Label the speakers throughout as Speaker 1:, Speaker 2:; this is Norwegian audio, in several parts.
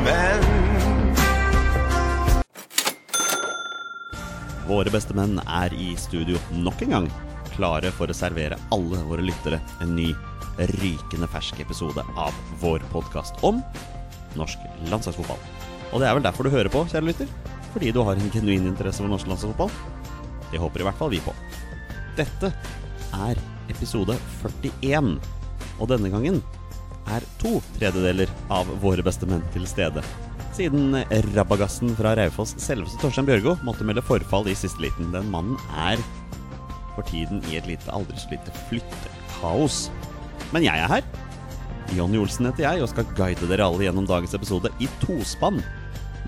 Speaker 1: menn.
Speaker 2: Våre beste menn er i studio nok en gang, klare for å servere alle våre lyttere en ny rykende fersk episode av vår podkast om norsk landslagsfotball. Og det er vel derfor du hører på, kjære lytter. Fordi du har en genuin interesse for norsk landslagsfotball. Det håper i hvert fall vi på. Dette er episode 41, og denne gangen er to tredjedeler av våre beste menn til stede. Siden rabagassen fra Raufoss selveste Torstein Bjørgo måtte melde forfall i siste liten. Den mannen er for tiden i et lite, aldri så lite flyttekaos. Men jeg er her. Jonny Olsen heter jeg og skal guide dere alle gjennom dagens episode i tospann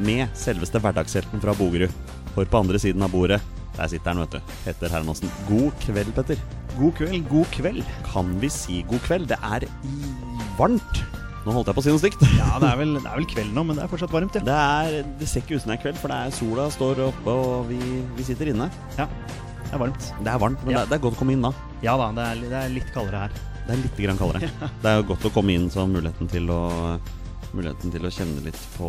Speaker 2: med selveste hverdagshelten fra Bogerud. For på andre siden av bordet, der sitter han, vet du, Petter Hermansen. God kveld, Petter. God kveld, god kveld. Kan vi si god kveld? Det er i- varmt. Nå holdt jeg på å si noe stygt.
Speaker 3: Ja, det er, vel, det er vel kveld nå, men det er fortsatt varmt, ja.
Speaker 2: Det, er, det ser ikke ut som det er kveld, for det er sola står oppe, og vi, vi sitter inne.
Speaker 3: Ja, det er varmt.
Speaker 2: Det er varmt, men
Speaker 3: Ja.
Speaker 2: det, er- det er godt å komme inn da.
Speaker 3: Ja da, det er, det er litt kaldere her.
Speaker 2: Det er litt grann kaldere. Det er jo godt å komme inn, så har muligheten til å Muligheten til å kjenne litt på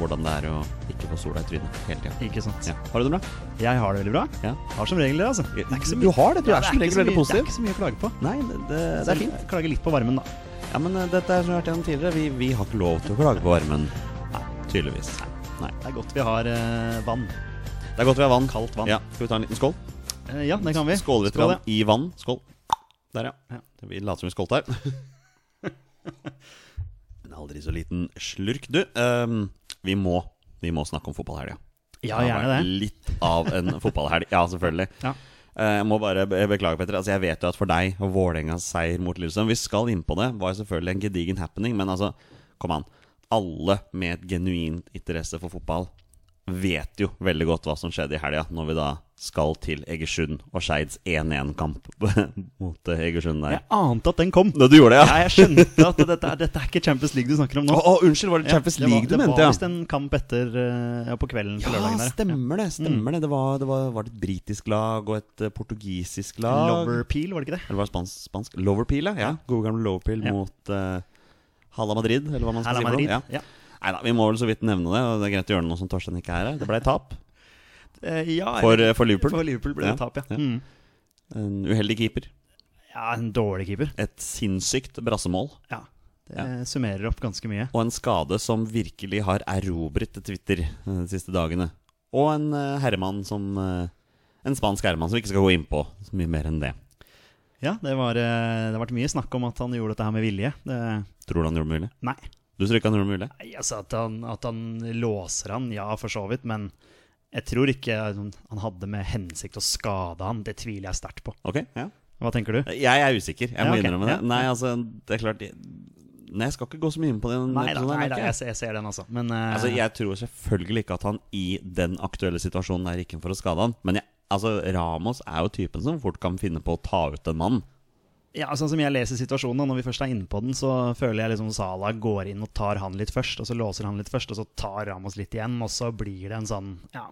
Speaker 2: hvordan det er å ikke få sola i trynet hele tida.
Speaker 3: Ikke sant.
Speaker 2: Ja. Har du det bra?
Speaker 3: Jeg har det veldig bra.
Speaker 2: Ja.
Speaker 3: Har som regel det, altså. Det er ikke så
Speaker 2: Du
Speaker 3: mye-
Speaker 2: har det, du
Speaker 3: Ja,
Speaker 2: er
Speaker 3: det
Speaker 2: som
Speaker 3: ikke
Speaker 2: regel
Speaker 3: så mye-
Speaker 2: veldig
Speaker 3: Det
Speaker 2: positiv.
Speaker 3: er ikke så mye å klage på.
Speaker 2: Nei, det, det, det er
Speaker 3: Så jeg
Speaker 2: fint.
Speaker 3: Klager litt på varmen, da.
Speaker 2: Ja, men eh, dette er som jeg har vært gjennom tidligere. Vi, vi har ikke lov til å klage på varmen. Nei, tydeligvis. Nei.
Speaker 3: Det er godt vi har eh, vann.
Speaker 2: Det er godt vi har vann.
Speaker 3: Kaldt vann.
Speaker 2: Ja, Skal vi ta en liten skål?
Speaker 3: Eh, ja, det kan vi.
Speaker 2: Skåler litt
Speaker 3: Skål,
Speaker 2: grann i vann. Skål. Der, ja.
Speaker 3: Ja.
Speaker 2: Vi later som vi skålte her. En aldri så liten slurk, du. ehm, vi må Vi må snakke om fotballhelga.
Speaker 3: Ja, gjerne det.
Speaker 2: Litt av en fotballhelg. Ja, selvfølgelig.
Speaker 3: Ja.
Speaker 2: Eh, Jeg må bare be- beklage, Petter. Altså, jeg vet jo at for deg og Vålerengas seier mot Lillestrøm Vi skal inn på det. Var jo selvfølgelig en gedigen happening, men altså, kom an. Alle med et genuint interesse for fotball vet jo veldig godt hva som skjedde i helga, når vi da skal til Egersund og Skeids 1-1-kamp mot eh, Egersund der.
Speaker 3: Jeg ante at den kom.
Speaker 2: Nå, Du gjorde det, ja?
Speaker 3: Ja, jeg skjønte at dette, er- dette er ikke Champions League du snakker om
Speaker 2: Å,
Speaker 3: nå.
Speaker 2: å, unnskyld, var det Champions
Speaker 3: det var,
Speaker 2: League du
Speaker 3: det
Speaker 2: mente,
Speaker 3: var
Speaker 2: ja?
Speaker 3: visst en kamp etter eh, ja, Mm. på kvelden på
Speaker 2: Ja,
Speaker 3: lørdagen der.
Speaker 2: stemmer det. stemmer det Det, var, det var, var det et britisk lag og et eh, portugisisk lag.
Speaker 3: Lover Peel, var det ikke det?
Speaker 2: Eller var det spansk? spansk? Loverpeel, ja. ja. Gode gamle Loverpeel
Speaker 3: Ja.
Speaker 2: mot eh, Hala Madrid, eller hva man skal
Speaker 3: Hala
Speaker 2: si. for noe.
Speaker 3: Madrid.
Speaker 2: Ja.
Speaker 3: Ja.
Speaker 2: Neida, vi må vel så vidt nevne det. og Det er greit å gjøre det nå som Torstein ikke er her. Det ble tap
Speaker 3: Eh, ja,
Speaker 2: for,
Speaker 3: eller-
Speaker 2: eh, for Liverpool.
Speaker 3: for Liverpool ble det
Speaker 2: Ja,
Speaker 3: tap, ja.
Speaker 2: ja.
Speaker 3: Mm.
Speaker 2: En uheldig keeper.
Speaker 3: Ja, en dårlig keeper.
Speaker 2: Et sinnssykt brassemål.
Speaker 3: Ja. Det summerer opp ganske mye.
Speaker 2: Og en skade som virkelig har erobret Twitter eh, de siste dagene. Og en eh, herremann som eh, En spansk herremann som vi ikke skal gå inn på så mye mer enn det.
Speaker 3: Ja, det, var, eh, det har vært mye snakk om at han gjorde dette her med vilje. Det,
Speaker 2: Tror du han gjorde det mulig?
Speaker 3: nei.
Speaker 2: Du tror ikke han gjorde det mulig?
Speaker 3: Nei, altså at han, at han låser han, ja, for så vidt. Men jeg tror ikke han han hadde med hensikt å skade han. Det tviler jeg sterkt på.
Speaker 2: Ok, ja
Speaker 3: Hva tenker du?
Speaker 2: Jeg er usikker. Jeg
Speaker 3: Ja,
Speaker 2: må
Speaker 3: ok.
Speaker 2: innrømme det.
Speaker 3: Ja.
Speaker 2: Nei, altså, det er klart jeg- Nei, jeg skal ikke gå så mye inn på sånn den
Speaker 3: Nei da,
Speaker 2: episoden her,
Speaker 3: nei, da
Speaker 2: merker jeg.
Speaker 3: jeg, ser- jeg ser den, altså. Men eh,
Speaker 2: Altså, jeg tror selvfølgelig ikke at han i den aktuelle situasjonen der gikk inn for å skade han. Men jeg, altså, Ramos er jo typen som fort kan finne på å ta ut en mann.
Speaker 3: ja, sånn som jeg leser situasjonen, da, når vi først er inne på den, så føler jeg liksom Salah går inn og tar han litt først, og så låser han litt først, og så tar Ramos litt igjen, og så blir det en sånn Ja.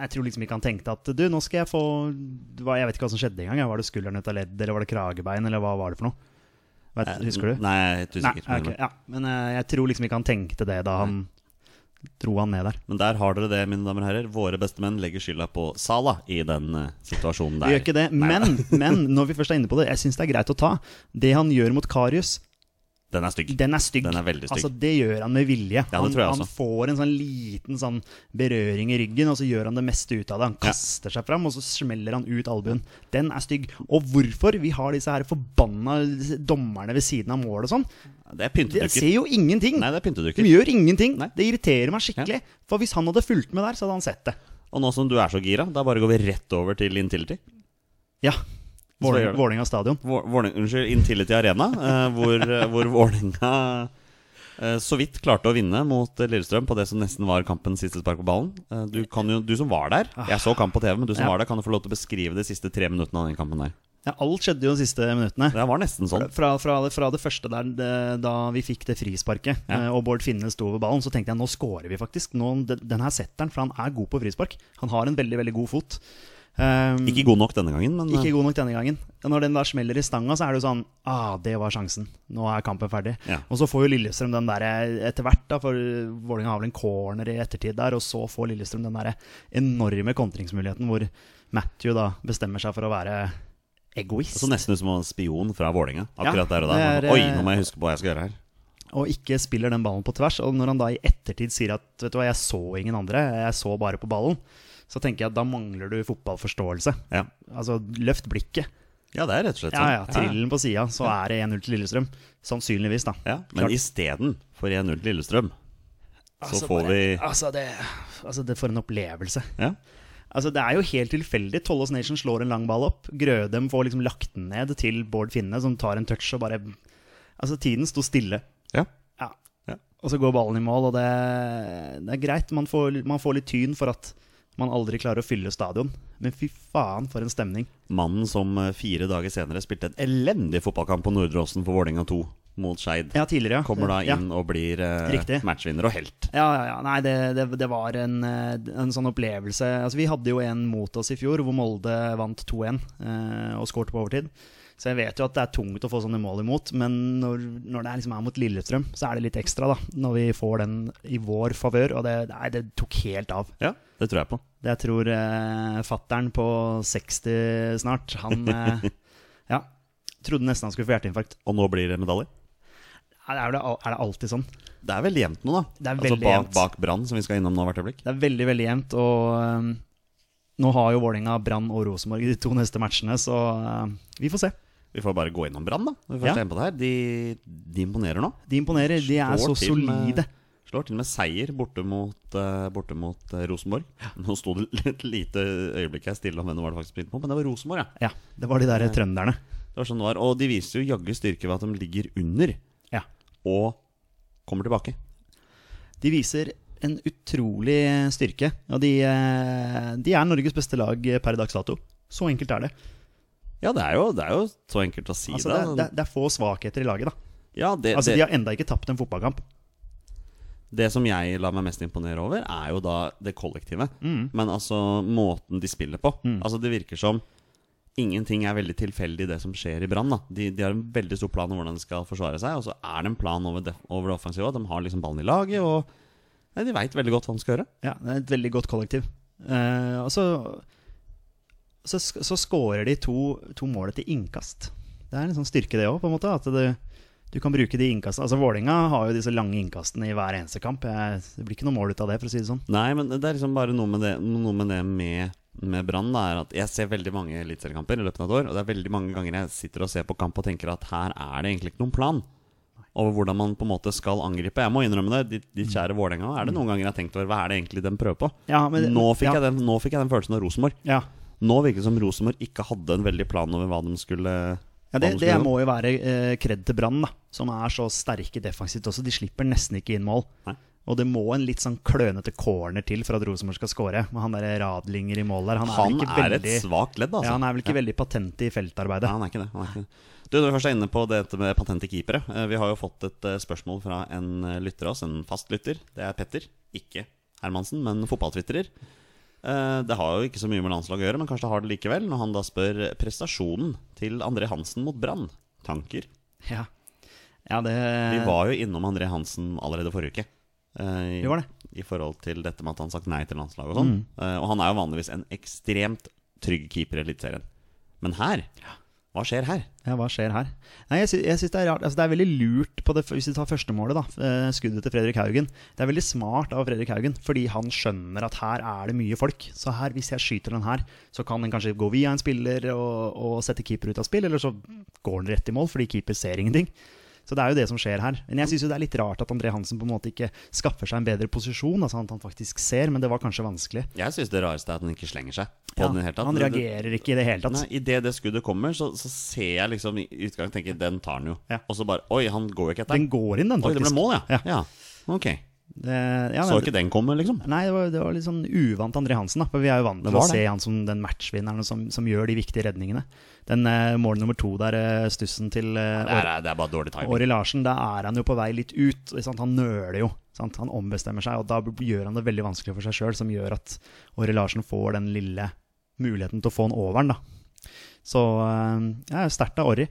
Speaker 3: Jeg tror liksom ikke han tenkte at du, nå skal jeg få hva- Jeg vet ikke hva som skjedde engang. ja. Var det skulderen ut av ledd, eller var det kragebein, eller hva var det for noe? Vet, Eh, husker du?
Speaker 2: Eh, Nei, jeg er helt
Speaker 3: Nei,
Speaker 2: usikker.
Speaker 3: ok, ja. Men eh, jeg tror liksom ikke han tenkte det da han dro han ned der.
Speaker 2: Men der har dere det, mine damer og herrer. Våre bestemenn legger skylda på Salah i den eh, situasjonen der.
Speaker 3: Vi gjør ikke det.
Speaker 2: Nei,
Speaker 3: Men, men når vi først er inne på det, jeg syns det er greit å ta. Det han gjør mot Karius,
Speaker 2: Den er stygg.
Speaker 3: Den er stygg.
Speaker 2: Den er veldig stygg.
Speaker 3: Altså, det gjør han med vilje.
Speaker 2: det
Speaker 3: han,
Speaker 2: tror jeg også.
Speaker 3: han får en sånn liten sånn berøring i ryggen, og så gjør han det meste ut av det. Han
Speaker 2: Ja.
Speaker 3: kaster seg fram, og så smeller han ut albuen. Den er stygg. Og hvorfor vi har disse her forbanna dommerne ved siden av mål og sånn,
Speaker 2: Det er
Speaker 3: det
Speaker 2: pyntedukker.
Speaker 3: ser jo ingenting.
Speaker 2: Nei, det er
Speaker 3: De
Speaker 2: pyntedukker.
Speaker 3: gjør ingenting.
Speaker 2: Nei.
Speaker 3: Det irriterer meg skikkelig. For hvis han hadde fulgt med der, så hadde han sett det.
Speaker 2: Og nå som du er så gira, da bare går vi rett over til Intility.
Speaker 3: Ja.
Speaker 2: gjør det.
Speaker 3: Vålerenga Vålerenga stadion.
Speaker 2: Vår- Vårling, unnskyld, Intility Arena, eh, hvor, eh, hvor Vålerenga eh, så vidt klarte å vinne mot eh, Lillestrøm på det som nesten var kampens siste spark på ballen. Eh, du, kan jo, du som var der, jeg så kamp på TV, men du som
Speaker 3: Ja.
Speaker 2: var der, kan du få lov til å beskrive de siste tre minuttene av den kampen der.
Speaker 3: Ja, alt skjedde jo de siste minuttene.
Speaker 2: Det var nesten sånn.
Speaker 3: Fra, fra, det, fra det første der, det, da vi fikk det frisparket,
Speaker 2: Ja.
Speaker 3: eh, og Bård Finne sto ved ballen, så tenkte jeg nå scorer vi faktisk. Nå, den, den her setter han, for han er god på frispark. Han har en veldig, veldig god fot. Ehm,
Speaker 2: Ikke god nok denne gangen, men
Speaker 3: ikke god nok denne gangen. Og Når den da smeller i stanga, så er det jo sånn Ah, det var sjansen. Nå er kampen ferdig.
Speaker 2: Ja.
Speaker 3: Og så får jo Lillestrøm den der eh, etter hvert, da, for Vålerenga har vel en corner i ettertid der, og så får Lillestrøm den der enorme kontringsmuligheten hvor Matthew da bestemmer seg for å være egoist.
Speaker 2: eh, Så nesten ut som en spion fra Vålerenga. Akkurat
Speaker 3: Ja,
Speaker 2: der og der.
Speaker 3: det er,
Speaker 2: Oi,
Speaker 3: eh,
Speaker 2: nå må jeg huske på hva jeg skal gjøre her.
Speaker 3: og ikke spiller den ballen på tvers. Og når han da i ettertid sier at Vet du hva, jeg så ingen andre, jeg så bare på ballen, så tenker jeg at da mangler du fotballforståelse.
Speaker 2: Ja,
Speaker 3: Altså, løft blikket.
Speaker 2: ja det er rett og slett
Speaker 3: Ja,
Speaker 2: sånn.
Speaker 3: ja, Trill den på sida, så er det 1-0 til Lillestrøm. Sannsynligvis, da.
Speaker 2: Ja, men
Speaker 3: Klart.
Speaker 2: istedenfor 1-0 til Lillestrøm, så
Speaker 3: Altså,
Speaker 2: får
Speaker 3: bare-
Speaker 2: vi
Speaker 3: Altså, det, altså det for en opplevelse.
Speaker 2: ja.
Speaker 3: Altså, det er jo helt tilfeldig. Tollås Nation slår en lang ball opp. Grødem får liksom lagt den ned til Bård Finne, som tar en touch og bare Altså, tiden sto stille.
Speaker 2: Ja.
Speaker 3: Ja.
Speaker 2: Ja.
Speaker 3: Og så går ballen i mål, og det, det er greit. Man får, man får litt tyn for at man aldri klarer å fylle stadion. Men fy faen, for en stemning.
Speaker 2: Mannen som eh, fire dager senere spilte en elendig fotballkamp på Nordre Åsen for Vålerenga 2 mot Skeid,
Speaker 3: Ja, tidligere, ja.
Speaker 2: kommer da
Speaker 3: Ja.
Speaker 2: inn og blir eh,
Speaker 3: Riktig.
Speaker 2: matchvinner og helt.
Speaker 3: Ja, ja, ja. Nei, det, det, det var en, eh, en sånn opplevelse. Altså, vi hadde jo en mot oss i fjor, hvor Molde vant 2-1 eh, og skårte på overtid. Så jeg vet jo at det er tungt å få sånne mål imot, men når, når det er liksom er mot Lillestrøm, så er det litt ekstra, da. Når vi får den i vår favør, og det, nei, det tok helt av.
Speaker 2: Ja, det tror jeg på.
Speaker 3: Det jeg tror eh, fattern på 60 snart, han eh, Ja. Trodde nesten han skulle få hjerteinfarkt.
Speaker 2: Og nå blir det medalje.
Speaker 3: Er det, al- er det alltid sånn?
Speaker 2: Det er veldig jevnt nå, da.
Speaker 3: Det er
Speaker 2: altså
Speaker 3: veldig
Speaker 2: bak,
Speaker 3: jevnt.
Speaker 2: bak Brann, som vi skal innom nå hvert øyeblikk.
Speaker 3: Det er veldig, veldig jevnt. Og eh, nå har jo Vålerenga Brann og Rosenborg i de to neste matchene, så eh, vi får se.
Speaker 2: Vi får bare gå innom Brann, da. når Vi først
Speaker 3: Ja.
Speaker 2: er inne på det her. De, de imponerer nå.
Speaker 3: De imponerer. De er
Speaker 2: Slår
Speaker 3: så
Speaker 2: til med-
Speaker 3: solide.
Speaker 2: Slår til med seier borte mot, eh, borte mot eh, Rosenborg. Nå sto det et lite øyeblikk her stille om hvem det var det faktisk spilte på, men det var Rosenborg, ja.
Speaker 3: Ja, det var de der trønderne.
Speaker 2: Det var sånn det var. Og de viser jo jaggu styrke ved at de ligger under
Speaker 3: Ja.
Speaker 2: og kommer tilbake.
Speaker 3: De viser en utrolig styrke. Og de, eh, de er Norges beste lag per dags dato. Så enkelt er det.
Speaker 2: Ja, det er jo, det er jo så enkelt å si
Speaker 3: Altså, det,
Speaker 2: det.
Speaker 3: er- det, er- det er få svakheter i laget, da.
Speaker 2: ja, det,
Speaker 3: Altså, De
Speaker 2: det,
Speaker 3: har enda ikke tapt en fotballkamp.
Speaker 2: det som jeg lar meg mest imponere over, er jo da det kollektive.
Speaker 3: Mm.
Speaker 2: Men altså måten de spiller på. Altså Det virker som ingenting er veldig tilfeldig i det som skjer i Brann. da. De, de har en veldig stor plan om hvordan de skal forsvare seg, og så er det en plan over det, over det offensive. og De har liksom ballen i laget, og nei, de veit veldig godt hva de skal gjøre.
Speaker 3: Ja, det er et veldig godt kollektiv. Eh, og så, så, sk- så scorer de to, to mål etter innkast. Det er en sånn styrke, det òg, på en måte. At det, du kan bruke de innkastene. Altså, Vålinga har jo disse lange innkastene i hver eneste kamp. Jeg, det blir ikke noe mål ut av det, for å si det sånn.
Speaker 2: Nei, men det er liksom bare noe med det, noe med, det med, med Brann. da, er at Jeg ser veldig mange eliteseriekamper i løpet av et år. Og det er veldig mange ganger jeg sitter og ser på kamp og tenker at her er det egentlig ikke noen plan. Over hvordan man på en måte skal angripe. Jeg må innrømme det. De, de kjære Vålerenga, er det noen ganger jeg har tenkt over hva er det egentlig de prøver på?
Speaker 3: Ja, men-
Speaker 2: nå, fikk
Speaker 3: ja.
Speaker 2: jeg den, nå fikk jeg den følelsen av Rosenborg.
Speaker 3: Ja,
Speaker 2: Nå virker det som Rosenborg ikke hadde en veldig plan over hva de skulle
Speaker 3: ja
Speaker 2: hva
Speaker 3: Det,
Speaker 2: de skulle
Speaker 3: det
Speaker 2: gjøre.
Speaker 3: må jo være eh, kred til Brann, da, som er så sterke defensivt også. De slipper nesten ikke inn mål.
Speaker 2: Nei.
Speaker 3: Og det må en litt sånn klønete corner til for at Rosenborg skal skåre. Men Han der Radlinger i mål der, han er,
Speaker 2: Han
Speaker 3: vel ikke
Speaker 2: er
Speaker 3: veldig,
Speaker 2: et svakt ledd, altså.
Speaker 3: ja, han er vel ikke veldig patent i feltarbeidet.
Speaker 2: Nei, han er ikke det. Han er ikke det. Du, Når vi først er inne på dette med patent til keepere eh, Vi har jo fått et eh, spørsmål fra en eh, lytter av oss, en fast lytter. Det er Petter. Ikke Hermansen, men fotballtvitrer. Eh, Det har jo ikke så mye med landslaget å gjøre, men kanskje det har det likevel, når han da spør prestasjonen til André Hansen mot Brann. Tanker.
Speaker 3: Ja, ja det
Speaker 2: Vi var jo innom André Hansen allerede forrige uke. eh, i-
Speaker 3: Vi var det. Mm.
Speaker 2: I forhold til dette med at han har sagt nei til landslaget og sånn. Eh, Og han er jo vanligvis en ekstremt trygg keeper i Eliteserien. Men her Hva skjer her?
Speaker 3: Ja, hva skjer her? Nei, jeg, sy jeg synes det er rart. Altså, det er veldig lurt på det, hvis vi tar førstemålet, da. eh, Skuddet til Fredrik Haugen. Det er veldig smart av Fredrik Haugen, fordi han skjønner at her er det mye folk. Så her, hvis jeg skyter den her, så kan den kanskje gå via en spiller og, og sette keeper ut av spill, eller så går den rett i mål fordi keeper ser ingenting. Så det er jo det som skjer her. Men jeg syns det er litt rart at André Hansen på en måte ikke skaffer seg en bedre posisjon, altså at han faktisk ser, men det var kanskje vanskelig.
Speaker 2: Jeg syns det rareste er at han ikke slenger seg på
Speaker 3: Ja,
Speaker 2: den i det hele tatt.
Speaker 3: han
Speaker 2: Det- det-
Speaker 3: reagerer ikke i det hele tatt.
Speaker 2: Nei, Idet det skuddet kommer, så, så ser jeg liksom i utgangen tenker jeg, den tar han jo.
Speaker 3: Ja.
Speaker 2: Og så bare Oi, han går jo ikke etter.
Speaker 3: Den går inn, den,
Speaker 2: Oi, det ble
Speaker 3: faktisk.
Speaker 2: mål, ja.
Speaker 3: Ja.
Speaker 2: ja. Ok.
Speaker 3: Det- ja,
Speaker 2: Så
Speaker 3: men-
Speaker 2: ikke den komme, liksom.
Speaker 3: Nei, det var, det var litt sånn uvant André Hansen, da. For vi er jo vant
Speaker 2: Det
Speaker 3: til å
Speaker 2: var det.
Speaker 3: se han som den matchvinneren som, som gjør de viktige redningene. Den eh, mål nummer to der, eh, stussen til
Speaker 2: Det
Speaker 3: eh,
Speaker 2: er, det er bare dårlig timing.
Speaker 3: Åri Larsen, da er han jo på vei litt ut. Ikke sant? Han nøler jo. Sant? Han ombestemmer seg, og da b- gjør han det veldig vanskelig for seg sjøl, som gjør at Åri Larsen får den lille muligheten til å få en overen, da. Så eh, ja, sterkt av Orri.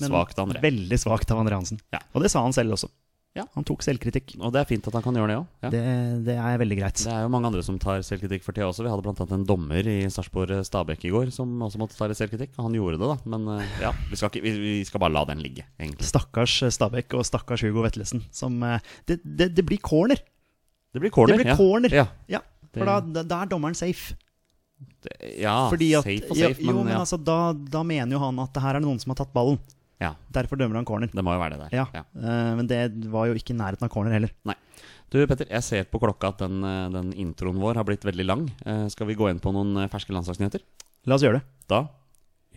Speaker 3: men
Speaker 2: Svakt av André.
Speaker 3: Veldig svakt av André Hansen.
Speaker 2: Ja.
Speaker 3: Og det sa han selv også.
Speaker 2: Ja.
Speaker 3: Han tok selvkritikk.
Speaker 2: Og det er fint at han kan gjøre det òg. Ja. Det,
Speaker 3: Det, det er veldig greit.
Speaker 2: er jo mange andre som tar selvkritikk for tida også. Vi hadde bl.a. en dommer i Sarpsborg eh, Stabæk i går som også måtte ta litt selvkritikk. Og han gjorde det, da. Men eh, ja, vi skal, ikke, vi, vi skal bare la den ligge, egentlig.
Speaker 3: Stakkars Stabæk og stakkars Hugo Vetlesen. Som, eh, det, det, det blir corner!
Speaker 2: Det blir corner.
Speaker 3: Det blir corner.
Speaker 2: Ja.
Speaker 3: Ja,
Speaker 2: Det-
Speaker 3: For da, da, da er dommeren safe.
Speaker 2: Det- ja
Speaker 3: Fordi at,
Speaker 2: safe og safe,
Speaker 3: ja, jo,
Speaker 2: men
Speaker 3: men
Speaker 2: ja.
Speaker 3: altså, da, da mener jo han at det her er det noen som har tatt ballen.
Speaker 2: ja.
Speaker 3: Derfor dømmer han corner.
Speaker 2: Det må jo være det der.
Speaker 3: Ja,
Speaker 2: Ja.
Speaker 3: eh, Men det var jo ikke i nærheten av corner heller.
Speaker 2: Du Petter, jeg ser på klokka at den, eh, den introen vår har blitt veldig lang. Eh, Skal vi gå inn på noen eh, ferske landslagsnyheter?
Speaker 3: La oss gjøre det.
Speaker 2: Da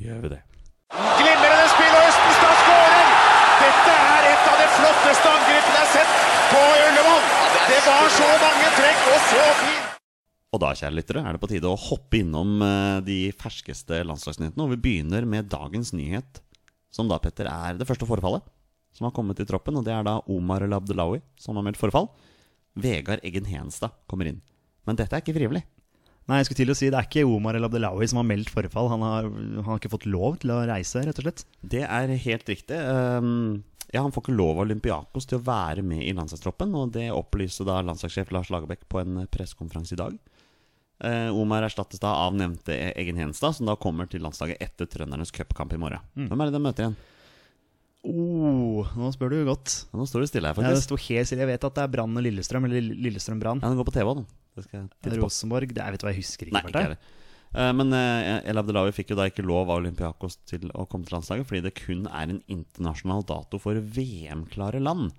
Speaker 2: gjør vi det.
Speaker 1: Glimrende spill, og Østenstad skårer! Dette er et av de flotteste angrepene jeg har sett på Ullevål! Det var så mange trekk og så fint!
Speaker 2: Og da, kjære lyttere, er det på tide å hoppe innom eh, de ferskeste landslagsnyhetene. Og vi begynner med dagens nyhet, som da, Petter, er det første forfallet som har kommet i troppen. Og det er da Omar El Abdelawi som har meldt forfall. Vegard Eggen Henstad kommer inn. Men dette er ikke frivillig.
Speaker 3: Nei, jeg skulle til å si Det er ikke Omar El Abdelawi som har meldt forfall. Han har, han har ikke fått lov til å reise, rett og slett.
Speaker 2: Det er helt riktig. Ehm, Ja, Han får ikke lov av Olympiakos til å være med i landslagstroppen, og det opplyser da landslagssjef Lars Lagerbäck på en pressekonferanse i dag. Eh, Omar erstattes da av nevnte Egen Henstad, som da kommer til landslaget etter trøndernes cupkamp i morgen.
Speaker 3: Mm.
Speaker 2: Hvem er det de møter igjen?
Speaker 3: Oh, nå spør du godt.
Speaker 2: Ja, nå står det stille her,
Speaker 3: Ja, det
Speaker 2: faktisk.
Speaker 3: sto helt stille. Jeg vet at det er Brann og Lillestrøm, eller Lill- Lillestrøm Brann.
Speaker 2: Ja, Den går på TV òg, den. Det skal jeg titte på.
Speaker 3: Rosenborg det, Jeg vet hva, jeg husker ikke.
Speaker 2: Nei, ikke
Speaker 3: Bjarte.
Speaker 2: heller. Eh, Men eh, El Abdelawi fikk jo da ikke lov av Olympiakos til å komme til landslaget, fordi det kun er en internasjonal dato for VM-klare land.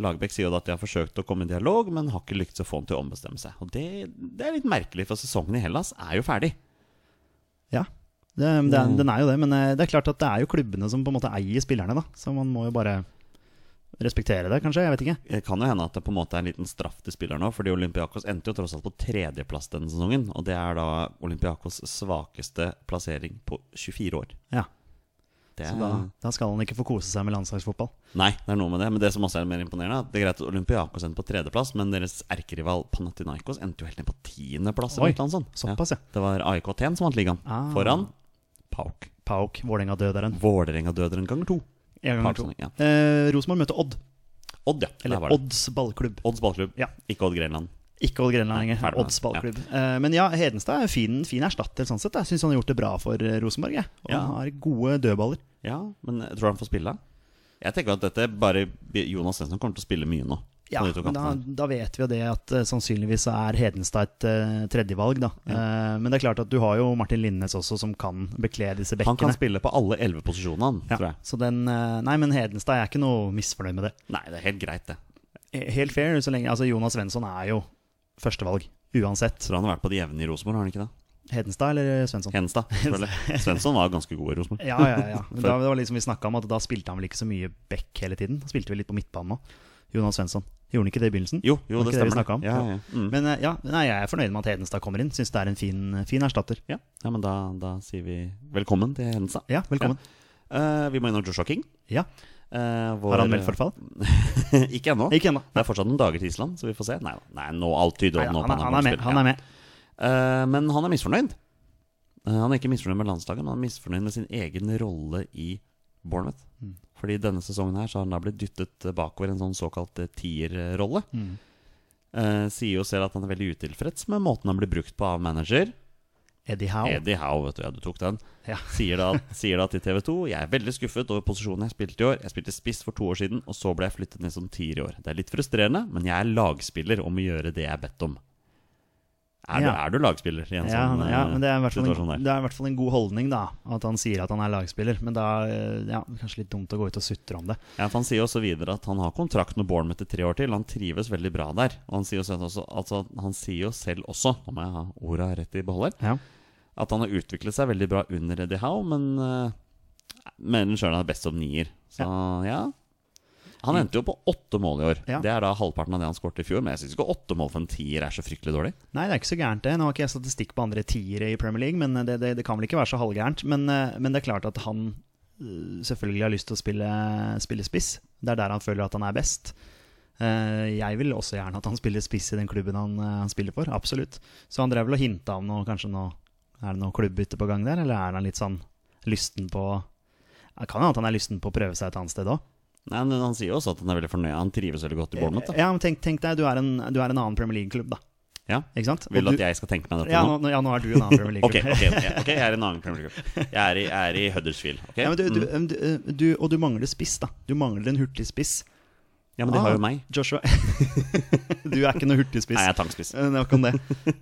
Speaker 2: Lagerbäck sier jo da at de har forsøkt å komme i dialog, men har ikke lyktes å få han til å ombestemme seg. Og det, det er litt merkelig, for sesongen i Hellas er jo ferdig.
Speaker 3: Ja, det, det,
Speaker 2: Mm.
Speaker 3: er- den er jo det. Men eh, det er klart at det er jo klubbene som på en måte eier spillerne, da. Så man må jo bare respektere det, kanskje. Jeg vet ikke.
Speaker 2: Det Eh, kan jo hende at det på en måte er en liten straff til spillerne òg, fordi Olympiakos endte jo tross alt på tredjeplass denne sesongen, og det er da Olympiakos svakeste plassering på 24 år.
Speaker 3: Ja,
Speaker 2: Det
Speaker 3: så
Speaker 2: er,
Speaker 3: da, da skal han ikke få kose seg med landslagsfotball.
Speaker 2: Nei, det er noe med det. Men det som også er mer imponerende, er at det er greit at Olympiakos endte på tredjeplass, men deres erkerival Panathinaikos endte jo helt ned på tiendeplass.
Speaker 3: Oi,
Speaker 2: eller noe sånt.
Speaker 3: såpass, ja.
Speaker 2: Det var AIK Aten som vant ligaen.
Speaker 3: Ah.
Speaker 2: Foran Pauk.
Speaker 3: Pauk, Vålerenga død er en.
Speaker 2: Vålerenga døde en gang to.
Speaker 3: En gang
Speaker 2: Pauk,
Speaker 3: to.
Speaker 2: sånn, ja.
Speaker 3: Eh, Rosenborg møter Odd,
Speaker 2: Odd, ja. Der
Speaker 3: eller
Speaker 2: var det.
Speaker 3: Odds ballklubb.
Speaker 2: Odds ballklubb.
Speaker 3: Ja.
Speaker 2: Ikke Odd Grenland.
Speaker 3: Ikke Odd Grenland
Speaker 2: Nei,
Speaker 3: lenger.
Speaker 2: ferdig med
Speaker 3: Odds
Speaker 2: det.
Speaker 3: ballklubb. Eh, men ja, Hedenstad er en fin, fin erstatter sånn sett. Jeg syns han har gjort det bra for eh, Rosenborg. Jeg. Og
Speaker 2: Ja.
Speaker 3: han har gode dødballer.
Speaker 2: Ja, men jeg tror han får spille. Jeg tenker at dette bare Jonas Svensson kommer til å spille mye nå. på
Speaker 3: Ja,
Speaker 2: de to
Speaker 3: men da,
Speaker 2: kantene.
Speaker 3: da vet vi jo det at eh, sannsynligvis så er Hedenstad et eh, tredjevalg, da. Eh, men det er klart at du har jo Martin Lindnes også, som kan bekle disse
Speaker 2: han kan
Speaker 3: bekkene.
Speaker 2: spille på alle elleve posisjonene, han, tror
Speaker 3: Ja,
Speaker 2: jeg.
Speaker 3: så den, eh, nei, men Hedenstad jeg er ikke noe misfornøyd med det.
Speaker 2: Nei, det er helt greit, det.
Speaker 3: Eh, Helt fair, så lenge Altså, Jonas Svensson er jo førstevalg uansett.
Speaker 2: Tror han har vært på det jevne i Rosenborg, har han ikke det?
Speaker 3: Hedenstad eller Svensson?
Speaker 2: Henstad. selvfølgelig. Svensson var ganske god i Rosenborg.
Speaker 3: Ja, ja, ja. Men Da, det var liksom vi snakka om at da spilte han vel ikke så mye back hele tiden. Han spilte vel litt på midtbanen òg. Jonas Svensson. Gjorde han ikke det i begynnelsen?
Speaker 2: Jo,
Speaker 3: Var
Speaker 2: jo, det
Speaker 3: ikke det vi
Speaker 2: stemmer.
Speaker 3: snakket om?
Speaker 2: Ja, ja, ja. Mm.
Speaker 3: Men eh, ja, nei, jeg er fornøyd med at Hedenstad kommer inn. Syns det er en fin, fin erstatter.
Speaker 2: ja. ja, men da, da sier vi velkommen til Hensa.
Speaker 3: Ja, velkommen.
Speaker 2: Eh, vi må innom Joshua King.
Speaker 3: Ja.
Speaker 2: Eh, vår,
Speaker 3: Har han meldt forfall?
Speaker 2: Ikke ennå.
Speaker 3: Ikke ennå.
Speaker 2: Det er fortsatt noen dager til Island, så vi får se. Nei, nei nå alt tyder
Speaker 3: Nei,
Speaker 2: nå
Speaker 3: han, er- han er med. Han er med.
Speaker 2: men han er misfornøyd. Eh, han er ikke misfornøyd med landslaget, men han er misfornøyd med sin egen rolle i Bournemouth.
Speaker 3: Mm.
Speaker 2: Fordi denne sesongen her så har han da blitt dyttet bakover i en sånn såkalt eh, tierrolle.
Speaker 3: Mm.
Speaker 2: Eh, sier jo selv at han er veldig utilfreds med måten han blir brukt på av manager.
Speaker 3: Eddie Howe.
Speaker 2: Eddie Howe, vet du. Ja, du tok den.
Speaker 3: Ja.
Speaker 2: Sier, da, sier da til TV 2 Jeg er veldig skuffet over posisjonen jeg spilte i år. Jeg spilte spiss for to år siden, og så ble jeg flyttet ned som tier i år. Det er litt frustrerende, men jeg er lagspiller og må gjøre det jeg er bedt om. Er, du,
Speaker 3: Ja.
Speaker 2: er du lagspiller i en
Speaker 3: Ja, han,
Speaker 2: sånn
Speaker 3: ja, men det er, i
Speaker 2: eh,
Speaker 3: hvert fall
Speaker 2: situasjon
Speaker 3: en,
Speaker 2: der?
Speaker 3: det er i hvert fall en god holdning, da. At han sier at han er lagspiller. Men da eh, ja, det er kanskje litt dumt å gå ut og sutre om det.
Speaker 2: Ja, for han sier også videre at han har kontrakt med Bournemouth i tre år til. Han trives veldig bra der. Og han sier jo selv også, altså, han sier jo selv også Nå må jeg ha orda rett i beholder.
Speaker 3: Ja.
Speaker 2: At han har utviklet seg veldig bra under Eddie Howe, men uh, mener sjøl han er best som nier. Så ja. Han endte jo på åtte mål i år.
Speaker 3: Ja.
Speaker 2: Det er da halvparten av det han skåret i fjor. Men jeg syns ikke åtte mål for en tier er så fryktelig dårlig.
Speaker 3: Nei, det er ikke så gærent, det. Nå har ikke jeg statistikk på andre tiere i Premier League, men eh, det, det, det kan vel ikke være så halvgærent. Men, eh, men det er klart at han eh, selvfølgelig har lyst til å spille, spille spiss. Det er der han føler at han er best. Eh, Jeg vil også gjerne at han spiller spiss i den klubben han, eh, han spiller for, absolutt. Så han drev vel og hinta om noe, kanskje noe Er det noe klubbbytte på gang der, eller er han litt sånn lysten på Det kan hende at han er lysten på å prøve seg et annet sted òg.
Speaker 2: Nei, men Han sier jo også at han er veldig fornøyd. Han trives veldig godt i Bournemouth. da.
Speaker 3: Ja, men tenk, tenk deg, du er, en, du er en annen Premier League-klubb, da.
Speaker 2: Ja.
Speaker 3: Ikke sant?
Speaker 2: Vil du
Speaker 3: Og
Speaker 2: at jeg skal tenke meg dette
Speaker 3: ja,
Speaker 2: nå?
Speaker 3: nå, ja, nå er du en annen Premier
Speaker 2: Ok,
Speaker 3: League-klubb.
Speaker 2: ok, ok, ok, jeg er i en annen Premier League. Jeg er i, jeg er i Huddersfield. ok?
Speaker 3: ja, men du, du,
Speaker 2: Mm.
Speaker 3: men du, du, og du mangler spiss, da. Du mangler en hurtig spiss.
Speaker 2: ja, men de
Speaker 3: Ah,
Speaker 2: har jo meg.
Speaker 3: Joshua Du er ikke noe hurtig spiss.
Speaker 2: Nei, jeg er tangspiss.
Speaker 3: Eh, Nok om det.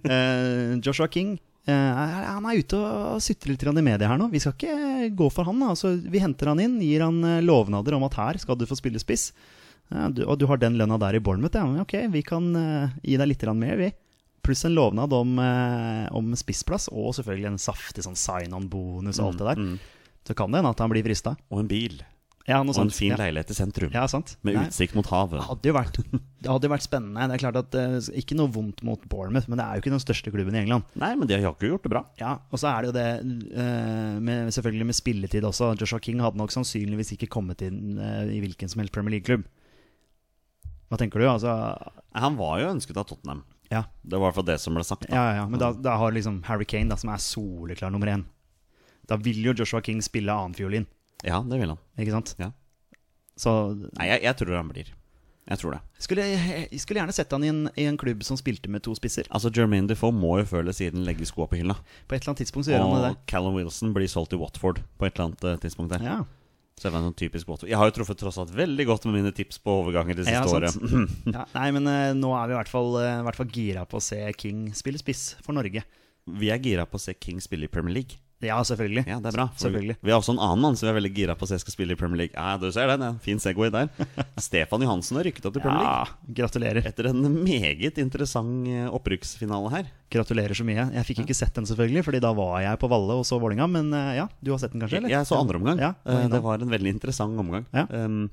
Speaker 3: Eh, Joshua King eh, er- han er ute og sutrer litt grann i media her nå. Vi skal ikke gå for han. da. Altså, vi henter han inn, gir han eh, lovnader om at her skal du få spille spiss. Ja, du, og du har den lønna der i Bournemouth. Ja. Men Ok, vi kan eh, gi deg litt grann mer, vi. Pluss en lovnad om, eh, om spissplass, og selvfølgelig en saftig sånn sign-on-bonus
Speaker 2: Mm,
Speaker 3: og alt det der. Så kan det hende at han blir frista.
Speaker 2: Og en bil.
Speaker 3: Ja, noe
Speaker 2: Og en
Speaker 3: sånt.
Speaker 2: fin
Speaker 3: Sånn, ja.
Speaker 2: leilighet i sentrum.
Speaker 3: ja, sant.
Speaker 2: Med
Speaker 3: Nei.
Speaker 2: utsikt mot havet.
Speaker 3: Det hadde jo vært, det hadde jo vært spennende. Det er klart at eh, Ikke noe vondt mot Bournemouth, men det er jo ikke den største klubben i England.
Speaker 2: Nei, men de har ikke gjort det bra.
Speaker 3: Ja, Og så er det jo det eh, med, selvfølgelig med spilletid også. Joshua King hadde nok sannsynligvis ikke kommet inn eh, i hvilken som helst Premier League-klubb. Hva tenker du? Altså,
Speaker 2: Nei, Han var jo ønsket av Tottenham.
Speaker 3: ja,
Speaker 2: Det var i hvert fall det som ble sagt.
Speaker 3: ja, ja, ja. Men da, da har liksom Harry Kane, da, som er soleklar nummer én Da vil jo Joshua King spille annenfiolin,
Speaker 2: Ja, det vil han.
Speaker 3: ikke sant?
Speaker 2: Ja.
Speaker 3: Så
Speaker 2: Nei, jeg, jeg tror han blir. Jeg tror det.
Speaker 3: skulle jeg, jeg skulle gjerne sett han i en, i en klubb som spilte med to spisser.
Speaker 2: Altså, Jermaine Defoe må jo før eller siden legge skoa på hylla.
Speaker 3: På et eller annet tidspunkt så gjør han det
Speaker 2: Og
Speaker 3: der.
Speaker 2: Callum Wilson blir solgt til Watford på et eller annet eh, tidspunkt der.
Speaker 3: Ja.
Speaker 2: Så det var sånn typisk Watford. Jeg har jo truffet tross alt veldig godt med mine tips på overganger det siste
Speaker 3: Ja, sant.
Speaker 2: året.
Speaker 3: Ja, nei, men eh, nå er vi i hvert fall, eh, i hvert fall gira på å se King spille spiss for Norge.
Speaker 2: Vi er gira på å se King spille i Premier League.
Speaker 3: Ja, selvfølgelig.
Speaker 2: Ja, det er bra. for
Speaker 3: Selvfølgelig.
Speaker 2: Vi, vi har også en annen mann som vi er veldig gira på å se skal spille i Premier League. Ja, du ser den, ja. Fin Segway der. Stefan Johansen har rykket opp til Premier League.
Speaker 3: Ja, gratulerer.
Speaker 2: Etter en meget interessant eh, opprykksfinale her.
Speaker 3: Gratulerer så mye. Jeg fikk ikke sett den, selvfølgelig, Fordi da var jeg på Valle og så Vålinga. Men eh, ja, du har sett den kanskje? eller?
Speaker 2: Jeg så andre omgang.
Speaker 3: Ja,
Speaker 2: Eh, det var en veldig interessant omgang.
Speaker 3: Ja.
Speaker 2: Um,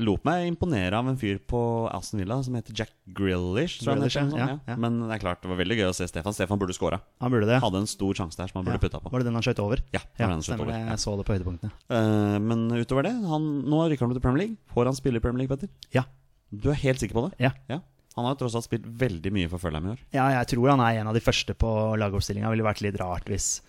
Speaker 2: lot meg imponere av en fyr på Aston Villa som heter Jack Grealish. Tror jeg han
Speaker 3: Grealish,
Speaker 2: heter,
Speaker 3: ja,
Speaker 2: sånn,
Speaker 3: ja, ja.
Speaker 2: Men det er klart, det var veldig gøy å se Stefan. Stefan burde skåra.
Speaker 3: Han burde det.
Speaker 2: Hadde en stor sjanse der som han burde
Speaker 3: Ja.
Speaker 2: putta på.
Speaker 3: Var det den han skøyt over?
Speaker 2: Ja, det var
Speaker 3: Ja,
Speaker 2: den han skjøt
Speaker 3: stemmer det.
Speaker 2: over.
Speaker 3: Jeg så det på høydepunktene.
Speaker 2: Eh, men utover det, han, nå rykker han til Premier League. Får han spille i Premier League, Petter?
Speaker 3: Ja.
Speaker 2: Du er helt sikker på det?
Speaker 3: Ja.
Speaker 2: Han har jo tross alt spilt veldig mye for Følheim i år.
Speaker 3: ja, jeg tror han er en av de første på lagoppstillinga. Ville vært litt rart hvis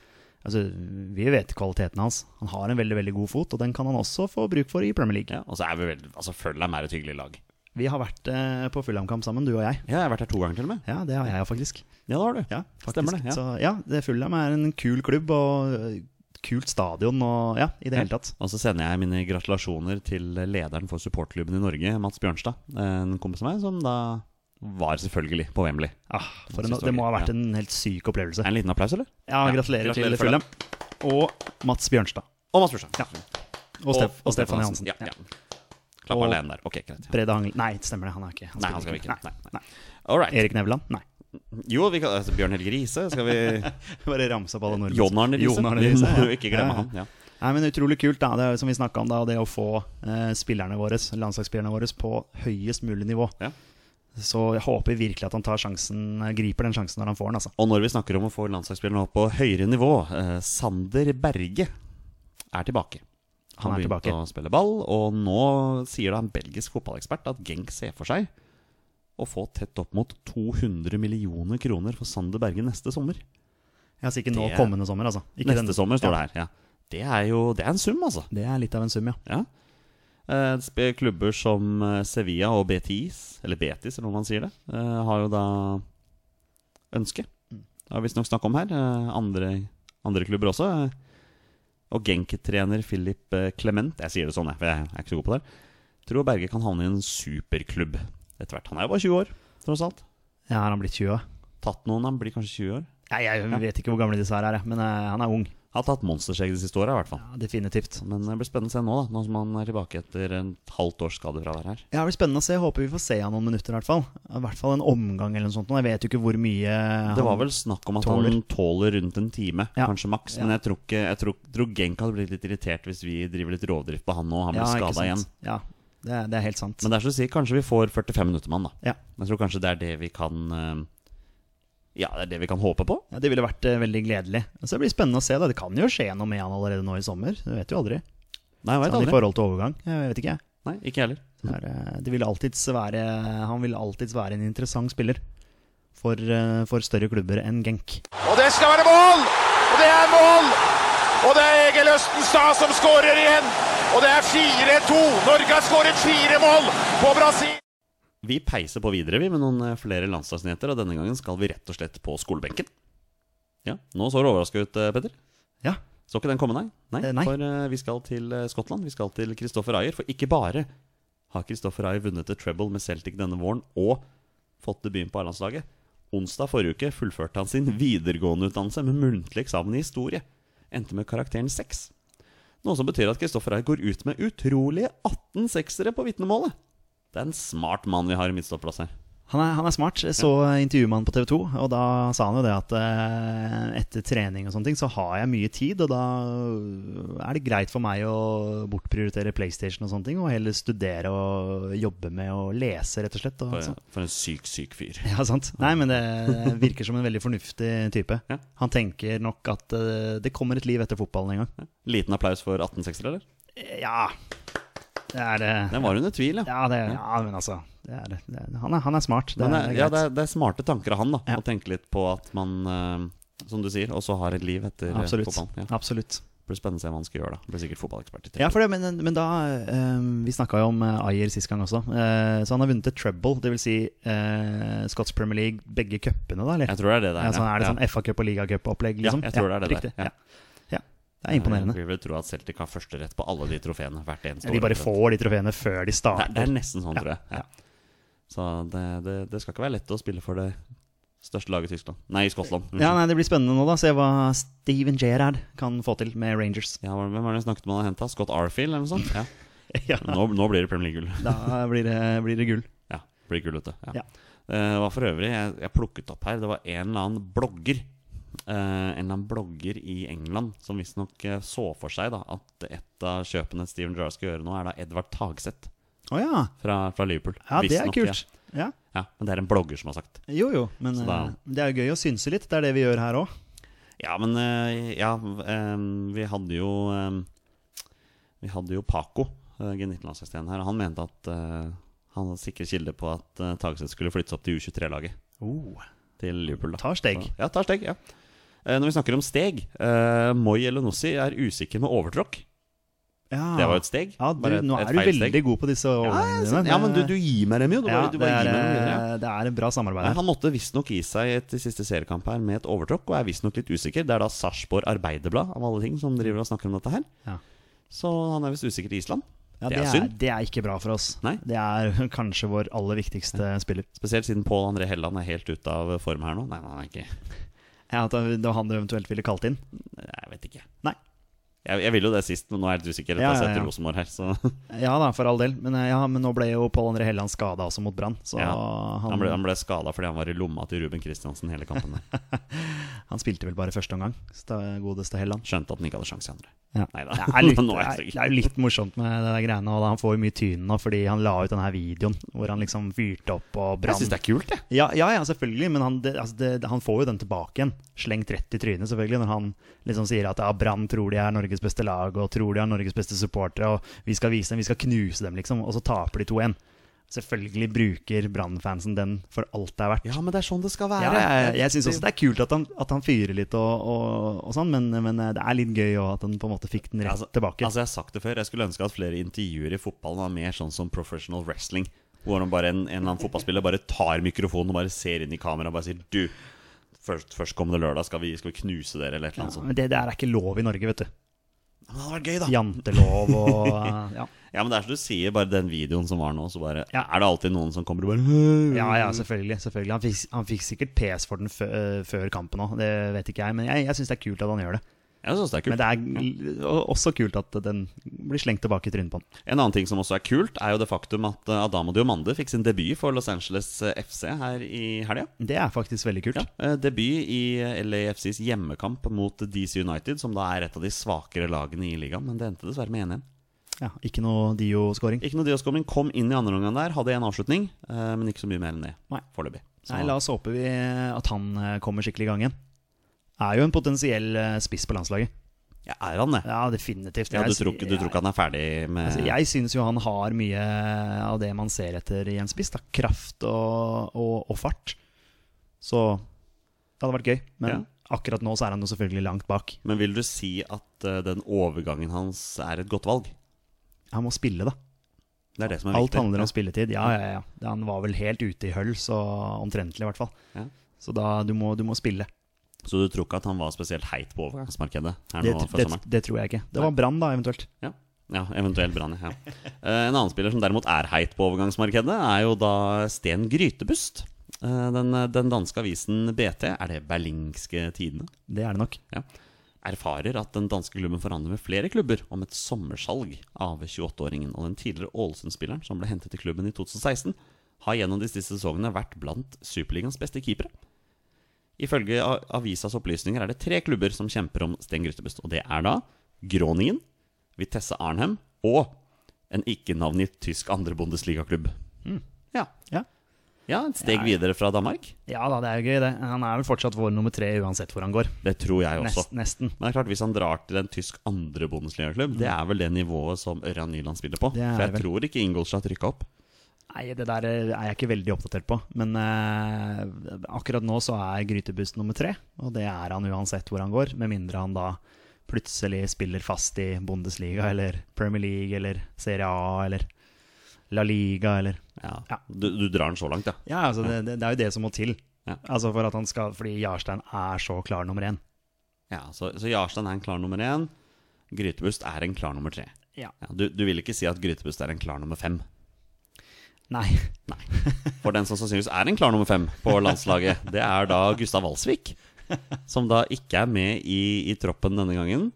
Speaker 3: Altså, Vi vet kvaliteten hans. Han har en veldig veldig god fot, og den kan han også få bruk for i Premier League.
Speaker 2: Ja, og så er vi veldig, altså Følheim er et hyggelig lag.
Speaker 3: Vi har vært eh, på Fulham-kamp sammen, du og jeg.
Speaker 2: Ja, jeg har vært her to ganger til og med.
Speaker 3: Ja, det har jeg jo faktisk.
Speaker 2: Ja, det har du.
Speaker 3: Ja, faktisk.
Speaker 2: Stemmer det, ja.
Speaker 3: Så, ja, det Fulham er en kul klubb og ø, kult stadion og ja, i det hele tatt.
Speaker 2: Og så sender jeg mine gratulasjoner til lederen for supportklubben i Norge, Mats Bjørnstad. En kompis av meg som da var selvfølgelig på Wembley.
Speaker 3: Ah, for en,
Speaker 2: Jeg synes det var
Speaker 3: det må
Speaker 2: gøy,
Speaker 3: ha vært
Speaker 2: ja.
Speaker 3: en helt syk opplevelse.
Speaker 2: En liten applaus, eller?
Speaker 3: Ja,
Speaker 2: Ja,
Speaker 3: gratulerer til
Speaker 2: gratulerer for
Speaker 3: Fulham. Og Mats Bjørnstad.
Speaker 2: Og Mats Bjørnstad.
Speaker 3: Ja. Og, Steff- og Stefan Johansen.
Speaker 2: Ja, ja. Klapp
Speaker 3: Og-
Speaker 2: alene der. Ok, greit.
Speaker 3: Brede Hangel Nei, det stemmer det. Han er ikke
Speaker 2: Nei,
Speaker 3: spiller
Speaker 2: han skal vi ikke.
Speaker 3: Nei.
Speaker 2: Nei, All right.
Speaker 3: Erik Nevland? Nei.
Speaker 2: Jo, vi kan, altså, Bjørn Helge Riise skal vi
Speaker 3: Bare ramse opp alle nordmenn.
Speaker 2: John Arne Riise.
Speaker 3: Jon Arne
Speaker 2: Vi
Speaker 3: Riise,
Speaker 2: må
Speaker 3: ja.
Speaker 2: jo ikke
Speaker 3: Ja,
Speaker 2: glemme
Speaker 3: ja.
Speaker 2: han. Ja.
Speaker 3: Nei, men Utrolig kult, da, det er, jo som vi snakka om, da, det å få eh, spillerne våre, landslagsspillerne våre på høyest mulig nivå.
Speaker 2: Ja.
Speaker 3: Så jeg håper virkelig at han tar sjansen, eh, griper den sjansen når han får den. altså.
Speaker 2: Og når vi snakker om å få landslagsspillerne opp på høyere nivå, eh, Sander Berge er tilbake.
Speaker 3: Han er
Speaker 2: begynte
Speaker 3: tilbake.
Speaker 2: å spille ball, og nå sier da en belgisk fotballekspert at Genk ser for seg å få tett opp mot 200 millioner kroner for Sander Berge neste sommer.
Speaker 3: Jeg altså ikke nå
Speaker 2: Det-
Speaker 3: kommende sommer, altså. Ikke
Speaker 2: neste
Speaker 3: denne-
Speaker 2: sommer,
Speaker 3: ja.
Speaker 2: står det her. Ja. Det er jo det er en sum, altså.
Speaker 3: Det er litt av en sum, ja.
Speaker 2: Ja. Eh, sp- Klubber som eh, Sevilla og Betis, eller Betis, eller hvordan man sier det, eh, har jo da ønske. Det har visstnok snakk om her. eh, Andre, andre klubber også. eh. Og Genk-trener Philip eh, Clement Jeg sier det sånn, jeg, for jeg er ikke så god på det. Tror Berge kan havne i en superklubb etter hvert. Han er jo bare 20 år, tross alt.
Speaker 3: ja. Har han blitt 20?
Speaker 2: Tatt noen, han blir kanskje 20 år.
Speaker 3: Nei, jeg vet ikke hvor gamle disse her er, jeg, men eh, han er ung.
Speaker 2: Har tatt monsterskjegg de siste åra, i hvert fall.
Speaker 3: Ja, definitivt.
Speaker 2: Men det blir spennende å se nå, da. Nå som han er tilbake etter et halvt års skadefravær her.
Speaker 3: Ja, det blir spennende å se. Jeg håper vi får se han noen minutter, i hvert fall. I hvert fall en omgang eller noe sånt. nå. Jeg vet jo ikke hvor mye han-
Speaker 2: Det var vel snakk om at
Speaker 3: tåler.
Speaker 2: han tåler rundt en time,
Speaker 3: Ja.
Speaker 2: kanskje maks. Men jeg tror, ikke, jeg tror, tror Genk hadde blitt litt irritert hvis vi driver litt rovdrift på han nå. Han blir
Speaker 3: Ja, ikke
Speaker 2: skadet
Speaker 3: sant.
Speaker 2: igjen.
Speaker 3: Ja, det er, det er helt sant.
Speaker 2: Men det er som du sier, kanskje vi får 45 minutter med han, da.
Speaker 3: ja.
Speaker 2: Jeg tror kanskje det er det vi kan eh, Ja, det er det vi kan håpe på.
Speaker 3: Ja, Det ville vært eh, veldig gledelig. Så Det blir spennende å se. da Det kan jo skje noe med han allerede nå i sommer. Du vet jo aldri.
Speaker 2: Nei, jeg vet
Speaker 3: Sånn I
Speaker 2: aldri.
Speaker 3: forhold til overgang. Jeg vet ikke. jeg.
Speaker 2: Nei, ikke jeg heller.
Speaker 3: Det er, eh, Det vil alltids være Han vil alltids være en interessant spiller. for, eh, for større klubber enn Genk.
Speaker 1: Og det skal være mål! Og det er mål! Og det er Egil Østenstad som skårer igjen. Og det er 4-2. Norge har skåret fire mål på Brasil.
Speaker 2: Vi peiser på videre vi med noen eh, flere landslagsnyheter, og denne gangen skal vi rett og slett på skolebenken. Ja, Nå så du overraska ut, eh, Petter.
Speaker 3: Ja,
Speaker 2: Så ikke den komme, nei? Nei,
Speaker 3: Eh, nei.
Speaker 2: For eh, vi skal til eh, Skottland. Vi skal til Christopher Ayer. For ikke bare har Christopher Ayer vunnet et treble med Celtic denne våren og fått debuten på A-landslaget. Onsdag forrige uke fullførte han sin videregående utdannelse med muntlig eksamen i historie. Endte med karakteren 6. Noe som betyr at Christopher Ayer går ut med utrolige 18 seksere på vitnemålet. Det er en smart mann vi har i midtstopplass her.
Speaker 3: Han er, han er smart. Jeg så intervjuet med han på TV 2, og da sa han jo det at eh, etter trening og sånne ting, så har jeg mye tid, og da eh, er det greit for meg å bortprioritere PlayStation og sånne ting, og heller studere og jobbe med å lese, rett og slett. Og,
Speaker 2: For,
Speaker 3: sånn.
Speaker 2: for en syk, syk fyr.
Speaker 3: Ja, sant. Nei, men det virker som en veldig fornuftig type.
Speaker 2: Ja.
Speaker 3: Han tenker nok at eh, det kommer et liv etter fotballen en gang.
Speaker 2: Liten applaus for 18 seksere, eller?
Speaker 3: Ja, det er det.
Speaker 2: Den var under tvil, ja.
Speaker 3: Ja, det, ja men altså det er, det er, han, er, han er smart. Det
Speaker 2: Men
Speaker 3: er, det
Speaker 2: det, er,
Speaker 3: er
Speaker 2: ja,
Speaker 3: greit.
Speaker 2: det, er, det er smarte tanker av han, da.
Speaker 3: Ja.
Speaker 2: Å tenke litt på at man, eh, som du sier, også har et liv etter eh,
Speaker 3: Absolutt.
Speaker 2: fotballen. Ja.
Speaker 3: Absolutt.
Speaker 2: Det blir spennende å se hva han skal gjøre, da. Blir sikkert fotballekspert. i
Speaker 3: Ja, for det, men, men da eh, Vi snakka jo om eh, Ayer sist gang også. Eh, så han har vunnet et treble, dvs. Si, eh, Scots Premier League, begge cupene, da? Eller?
Speaker 2: Jeg tror det er det der.
Speaker 3: ja, sånn, er det
Speaker 2: ja.
Speaker 3: sånn FA-cup og ligacup-opplegg,
Speaker 2: Ja,
Speaker 3: liksom?
Speaker 2: jeg tror det er det der,
Speaker 3: riktig,
Speaker 2: ja.
Speaker 3: Ja. Ja. Det er imponerende.
Speaker 2: Jeg vil tro at Celtic har førsterett på alle de trofeene hvert eneste
Speaker 3: De
Speaker 2: år.
Speaker 3: bare får de trofeene før de
Speaker 2: Det, er- det
Speaker 3: starter.
Speaker 2: er nesten sånn, tror jeg.
Speaker 3: ja.
Speaker 2: Ja. Så det, det, det skal ikke være lett å spille for det største laget i Tyskland. Nei, i Skottland. Unnskyld.
Speaker 3: Ja, nei, Det blir spennende nå, da. Se hva Steven Gerrard kan få til med Rangers.
Speaker 2: Ja, hvem var det jeg snakket om han henta? Scott Arfield, eller noe sånt? Ja.
Speaker 3: Ja,
Speaker 2: Nå, nå blir det Premier League-gull.
Speaker 3: Da blir det, blir det gull.
Speaker 2: Ja, blir gullete. Ja.
Speaker 3: Ja.
Speaker 2: Eh, Det var for øvrig, jeg, jeg plukket opp her, det var en eller annen blogger eh, En eller annen blogger i England som visstnok eh, så for seg da at et av kjøpene Steven Gerrard skal gjøre nå, er da Edvard Tagseth
Speaker 3: Å ja.
Speaker 2: fra, fra Liverpool.
Speaker 3: ja! Det er
Speaker 2: Visstnok,
Speaker 3: kult. Ja.
Speaker 2: Ja. ja, Men det er en blogger som har sagt.
Speaker 3: Jo, jo. Men
Speaker 2: Så da-
Speaker 3: eh, det er jo gøy å synse litt. Det er det vi gjør her òg.
Speaker 2: Ja, men eh, ja, eh, vi hadde jo eh, Vi hadde jo Paco, eh, G19-landslagstreneren her, og han mente at eh, han hadde sikre kilder på at eh, Tagseth skulle flyttes opp til U23-laget
Speaker 3: Oh,
Speaker 2: til Liverpool. da
Speaker 3: tar steg.
Speaker 2: Ja, tar steg, ja. Eh, Når vi snakker om steg, eh, Moi Elenossi er usikker med overtråkk.
Speaker 3: Ja.
Speaker 2: Det var jo et steg.
Speaker 3: Ja, du,
Speaker 2: bare et-
Speaker 3: nå
Speaker 2: et
Speaker 3: er du
Speaker 2: feil
Speaker 3: veldig
Speaker 2: steg.
Speaker 3: god på disse
Speaker 2: ja,
Speaker 3: overgangene
Speaker 2: jeg
Speaker 3: dine.
Speaker 2: synes- ja, men du, du gir meg dem jo. Du
Speaker 3: Ja,
Speaker 2: bare, du
Speaker 3: det,
Speaker 2: bare
Speaker 3: er,
Speaker 2: gir meg dem videre. ja.
Speaker 3: eh, det er et bra samarbeid.
Speaker 2: Nei,
Speaker 3: her.
Speaker 2: han måtte visstnok gi seg et siste seriekamp her med et overtråkk, og er visstnok litt usikker. Det er da Sarpsborg Arbeiderblad av alle ting som driver og snakker om dette her.
Speaker 3: Ja.
Speaker 2: Så han er visst usikker i Island.
Speaker 3: Ja,
Speaker 2: det er synd.
Speaker 3: Det er ikke bra for oss.
Speaker 2: Nei.
Speaker 3: Det er kanskje vår aller viktigste spiller.
Speaker 2: Spesielt siden Pål André Helland er helt ute av form her nå. Nei, han er ikke
Speaker 3: Ja, at det var han du eventuelt ville kalt inn.
Speaker 2: Jeg vet ikke.
Speaker 3: Nei.
Speaker 2: Jeg, jeg ville jo det sist, men nå er jeg litt usikker etter
Speaker 3: Ja,
Speaker 2: å ha
Speaker 3: ja,
Speaker 2: sett
Speaker 3: ja.
Speaker 2: Rosenborg her, så
Speaker 3: Ja da, for all del. Men, eh, ja, men nå ble jo Pål André Helland skada også mot Brann. Så
Speaker 2: Ja,
Speaker 3: han,
Speaker 2: Han ble,
Speaker 3: han,
Speaker 2: han ble skada fordi han var i lomma til Ruben Kristiansen hele kampen. der.
Speaker 3: spilte vel bare første omgang, sta- godeste Helland.
Speaker 2: Skjønte at han ikke hadde sjanse i andre.
Speaker 3: Ja.
Speaker 2: Neida.
Speaker 3: Det er, litt,
Speaker 2: Nå
Speaker 3: det,
Speaker 2: er jeg
Speaker 3: er,
Speaker 2: trygg.
Speaker 3: det er jo litt morsomt med det der greiene. Og da, han får jo mye tyn nå fordi han la ut denne her videoen hvor han liksom fyrte opp og
Speaker 2: Jeg
Speaker 3: brann
Speaker 2: syns det er kult, jeg.
Speaker 3: Ja, ja, ja selvfølgelig, men han, det, altså det, han får jo den tilbake igjen. Slengt rett i trynet, selvfølgelig, når han liksom sier at ja, Brann tror de er Norges beste lag, og tror de er Norges beste supportere, og vi skal vise dem, vi skal knuse dem, liksom. Og så taper de 2-1. Selvfølgelig bruker Brann-fansen den for alt det er verdt.
Speaker 2: Ja, men det er sånn det skal være.
Speaker 3: Ja, jeg jeg syns også det er kult at han, at han fyrer litt og, og, og sånn, men, men det er litt gøy òg at han på en måte fikk den rett
Speaker 2: Altså-
Speaker 3: tilbake.
Speaker 2: Altså, jeg har sagt det før, jeg skulle ønske at flere intervjuer i fotballen var mer sånn som professional wrestling. Hvor han bare en, en eller annen fotballspiller bare tar mikrofonen og bare ser inn i kameraet og bare sier Du, først, førstkommende lørdag skal vi, skal vi knuse dere, eller et
Speaker 3: ja,
Speaker 2: eller annet sånt.
Speaker 3: men det, det er ikke lov i Norge, vet du.
Speaker 2: Men det hadde vært gøy, da.
Speaker 3: Jantelov og ja.
Speaker 2: Ja, men det er som du sier, bare den videoen som var nå, så bare
Speaker 3: Ja.
Speaker 2: Er det alltid noen som kommer og bare
Speaker 3: Ja, ja, selvfølgelig. selvfølgelig. Han, fikk, han fikk sikkert pes for den fø- øh, før kampen òg, det vet ikke jeg. Men jeg, jeg syns det er kult at han gjør det.
Speaker 2: Jeg syns det er kult.
Speaker 3: Men det er l- og- også kult at den blir slengt tilbake i trynet på han.
Speaker 2: En annen ting som også er kult, er jo det faktum at eh, Adamo Diomande fikk sin debut for Los Angeles eh, FC her i helga.
Speaker 3: Det er faktisk veldig kult.
Speaker 2: Ja, eh, debut i eh, LAFCs hjemmekamp mot DC United, som da er et av de svakere lagene i ligaen. Men det endte dessverre med 1-1.
Speaker 3: Ja, ikke noe Dio-scoring.
Speaker 2: Ikke noe dioskoming. Kom inn i andre omgang der, hadde en avslutning, eh, men ikke så mye mer enn det
Speaker 3: Nei.
Speaker 2: foreløpig. Så-
Speaker 3: Nei, la oss håpe vi at han øh, kommer skikkelig i gang igjen. Er jo en potensiell øh, spiss på landslaget.
Speaker 2: Ja, er han det?
Speaker 3: Ja, definitivt.
Speaker 2: Ja, du
Speaker 3: Jeg-
Speaker 2: tror ikke du tror ikke han er ferdig med
Speaker 3: Altså, jeg syns jo han har mye av det man ser etter i en spiss. Da. Kraft og, og, og fart. Så det hadde vært gøy. Men
Speaker 2: Ja.
Speaker 3: akkurat nå så er han jo selvfølgelig langt bak.
Speaker 2: Men vil du si at eh, den overgangen hans er et godt valg?
Speaker 3: Han må spille, da.
Speaker 2: Det er det som er
Speaker 3: Alt
Speaker 2: viktig.
Speaker 3: handler om spilletid. Ja, ja, ja. Det- Han var vel helt ute i høll, så omtrentlig, i hvert fall.
Speaker 2: Ja.
Speaker 3: Så da, du må, du må spille.
Speaker 2: Så du tror ikke at han var spesielt heit på overgangsmarkedet her
Speaker 3: Det,
Speaker 2: nå før
Speaker 3: det,
Speaker 2: sommeren?
Speaker 3: det tror jeg ikke. Det
Speaker 2: Nei.
Speaker 3: var Brann, da, eventuelt.
Speaker 2: Ja, ja eventuelt Brann, ja. Eh, En annen spiller som derimot er heit på overgangsmarkedet, er jo da Sten Grytebust. Eh, Den, den danske avisen BT, er det berlingske tidene?
Speaker 3: Det er det nok.
Speaker 2: Ja. Erfarer at den danske klubben forhandler med flere klubber om et sommersalg av 28-åringen. Og den tidligere Ålesund-spilleren som ble hentet til klubben i 2016, har gjennom de siste sesongene vært blant Superligaens beste keepere. Ifølge a- avisas opplysninger er det tre klubber som kjemper om Sten Grytebust. Og det er da Groningen, Vitesse Arnhem og en ikke-navngitt tysk andre bondesligaklubb. Mm. Ja.
Speaker 3: Ja.
Speaker 2: ja, et steg videre fra Danmark.
Speaker 3: ja da, det er jo gøy, det. Han er vel fortsatt vår nummer tre uansett hvor han går.
Speaker 2: Det tror jeg også.
Speaker 3: Nest, nesten.
Speaker 2: Men det er klart, hvis han drar til en tysk andre Bundesliga-klubb, det er vel det nivået som Ørjan Nyland spiller på.
Speaker 3: Det er
Speaker 2: For jeg
Speaker 3: det vel.
Speaker 2: tror ikke Ingolstadt rykka opp.
Speaker 3: Nei, det der er jeg ikke veldig oppdatert på. Men eh, akkurat nå så er grytebust nummer tre, og det er han uansett hvor han går. Med mindre han da plutselig spiller fast i Bundesliga eller Premier League eller Serie A eller La Liga eller
Speaker 2: Ja.
Speaker 3: Ja.
Speaker 2: Du, du drar den så langt, ja.
Speaker 3: Ja, altså det, det, det er jo det som må til.
Speaker 2: Ja.
Speaker 3: Altså for at han skal, Fordi Jarstein er så klar nummer én.
Speaker 2: ja så, så Jarstein er en klar nummer én. Grytebust er en klar nummer tre.
Speaker 3: Ja.
Speaker 2: Ja, du, du vil ikke si at Grytebust er en klar nummer fem.
Speaker 3: Nei.
Speaker 2: For den som sannsynligvis er en klar nummer fem på landslaget, det er da Gustav Walsvik. Som da ikke er med i, i troppen denne gangen.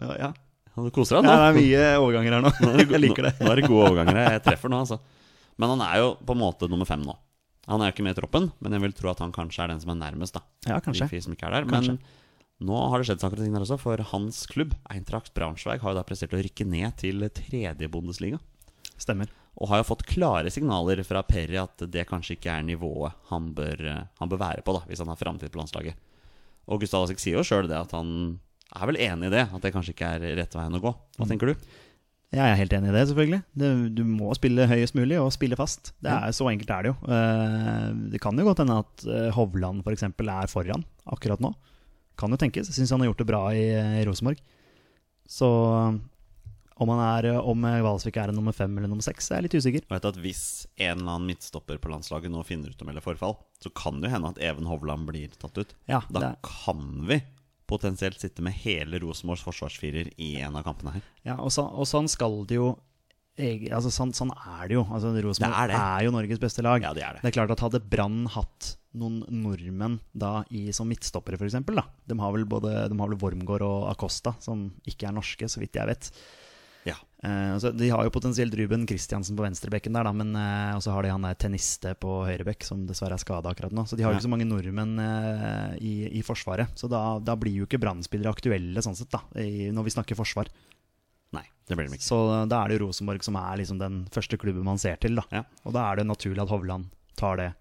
Speaker 3: Ja.
Speaker 2: Du koser deg
Speaker 3: Ja,
Speaker 2: nå?
Speaker 3: det er mye overganger her nå. Jeg liker det.
Speaker 2: Nå, nå er det gode overganger. Jeg treffer nå, altså. Men han er jo på en måte nummer fem nå. Han er jo ikke med i troppen, men jeg vil tro at han kanskje er den som er nærmest. da
Speaker 3: Ja,
Speaker 2: De
Speaker 3: kanskje.
Speaker 2: fire som ikke er der
Speaker 3: Kanskje.
Speaker 2: Men nå har det skjedd saker og ting der også, for hans klubb, Eintracht Braunschweig, har jo da prestert å rykke ned til tredje Bundesliga.
Speaker 3: Stemmer.
Speaker 2: Og har jo fått klare signaler fra Perry at det kanskje ikke er nivået han bør, han bør være på, da hvis han har framtid på landslaget. Og Gustav Asik sier jo sjøl det, at han er vel enig i det. At det kanskje ikke er rette veien å gå.
Speaker 3: Mm.
Speaker 2: Hva tenker du?
Speaker 3: Jeg er helt enig i det, selvfølgelig. Du, du må spille høyest mulig og spille fast. Det
Speaker 2: Ja.
Speaker 3: er Så enkelt er det jo. Eh, Det kan jo godt hende at eh, Hovland f.eks. For er foran akkurat nå. Kan jo tenkes. Syns han har gjort det bra i eh, Rosenborg. Så om han er eh, Om eh, Valsvik er en nummer fem eller nummer seks, er jeg litt usikker.
Speaker 2: Jeg vet at Hvis en eller annen midtstopper på landslaget nå finner ut å melde forfall, så kan det jo hende at Even Hovland blir tatt ut.
Speaker 3: Ja,
Speaker 2: Da
Speaker 3: det,
Speaker 2: kan vi potensielt sitte med hele Rosenborgs forsvarsfirer i en av kampene her.
Speaker 3: ja og, så, og sånn skal det jo eg- altså, sånn, sånn er det jo. Altså, Rosenborg
Speaker 2: Det
Speaker 3: er,
Speaker 2: er det.
Speaker 3: jo Norges beste lag.
Speaker 2: Ja, det er det.
Speaker 3: Det er klart at Hadde Brann hatt noen nordmenn da i, som midtstoppere, f.eks. De har vel både de har vel Wormgård og Acosta, som ikke er norske, så vidt jeg vet.
Speaker 2: Ja.
Speaker 3: Eh, så de har jo potensielt Ruben Kristiansen på venstrebekken der, da, men eh, og så har de han der tenniste på høyrebekk, som dessverre er skada akkurat nå. Så de har jo
Speaker 2: Ja.
Speaker 3: ikke så mange nordmenn eh, i, i Forsvaret. Så da, da blir jo ikke Brann-spillere aktuelle, sånn sett, da, i, når vi snakker forsvar.
Speaker 2: Nei, det blir de ikke.
Speaker 3: Så da er det jo Rosenborg som er liksom den første klubben man ser til. da.
Speaker 2: Ja.
Speaker 3: Og da er det naturlig at Hovland tar det,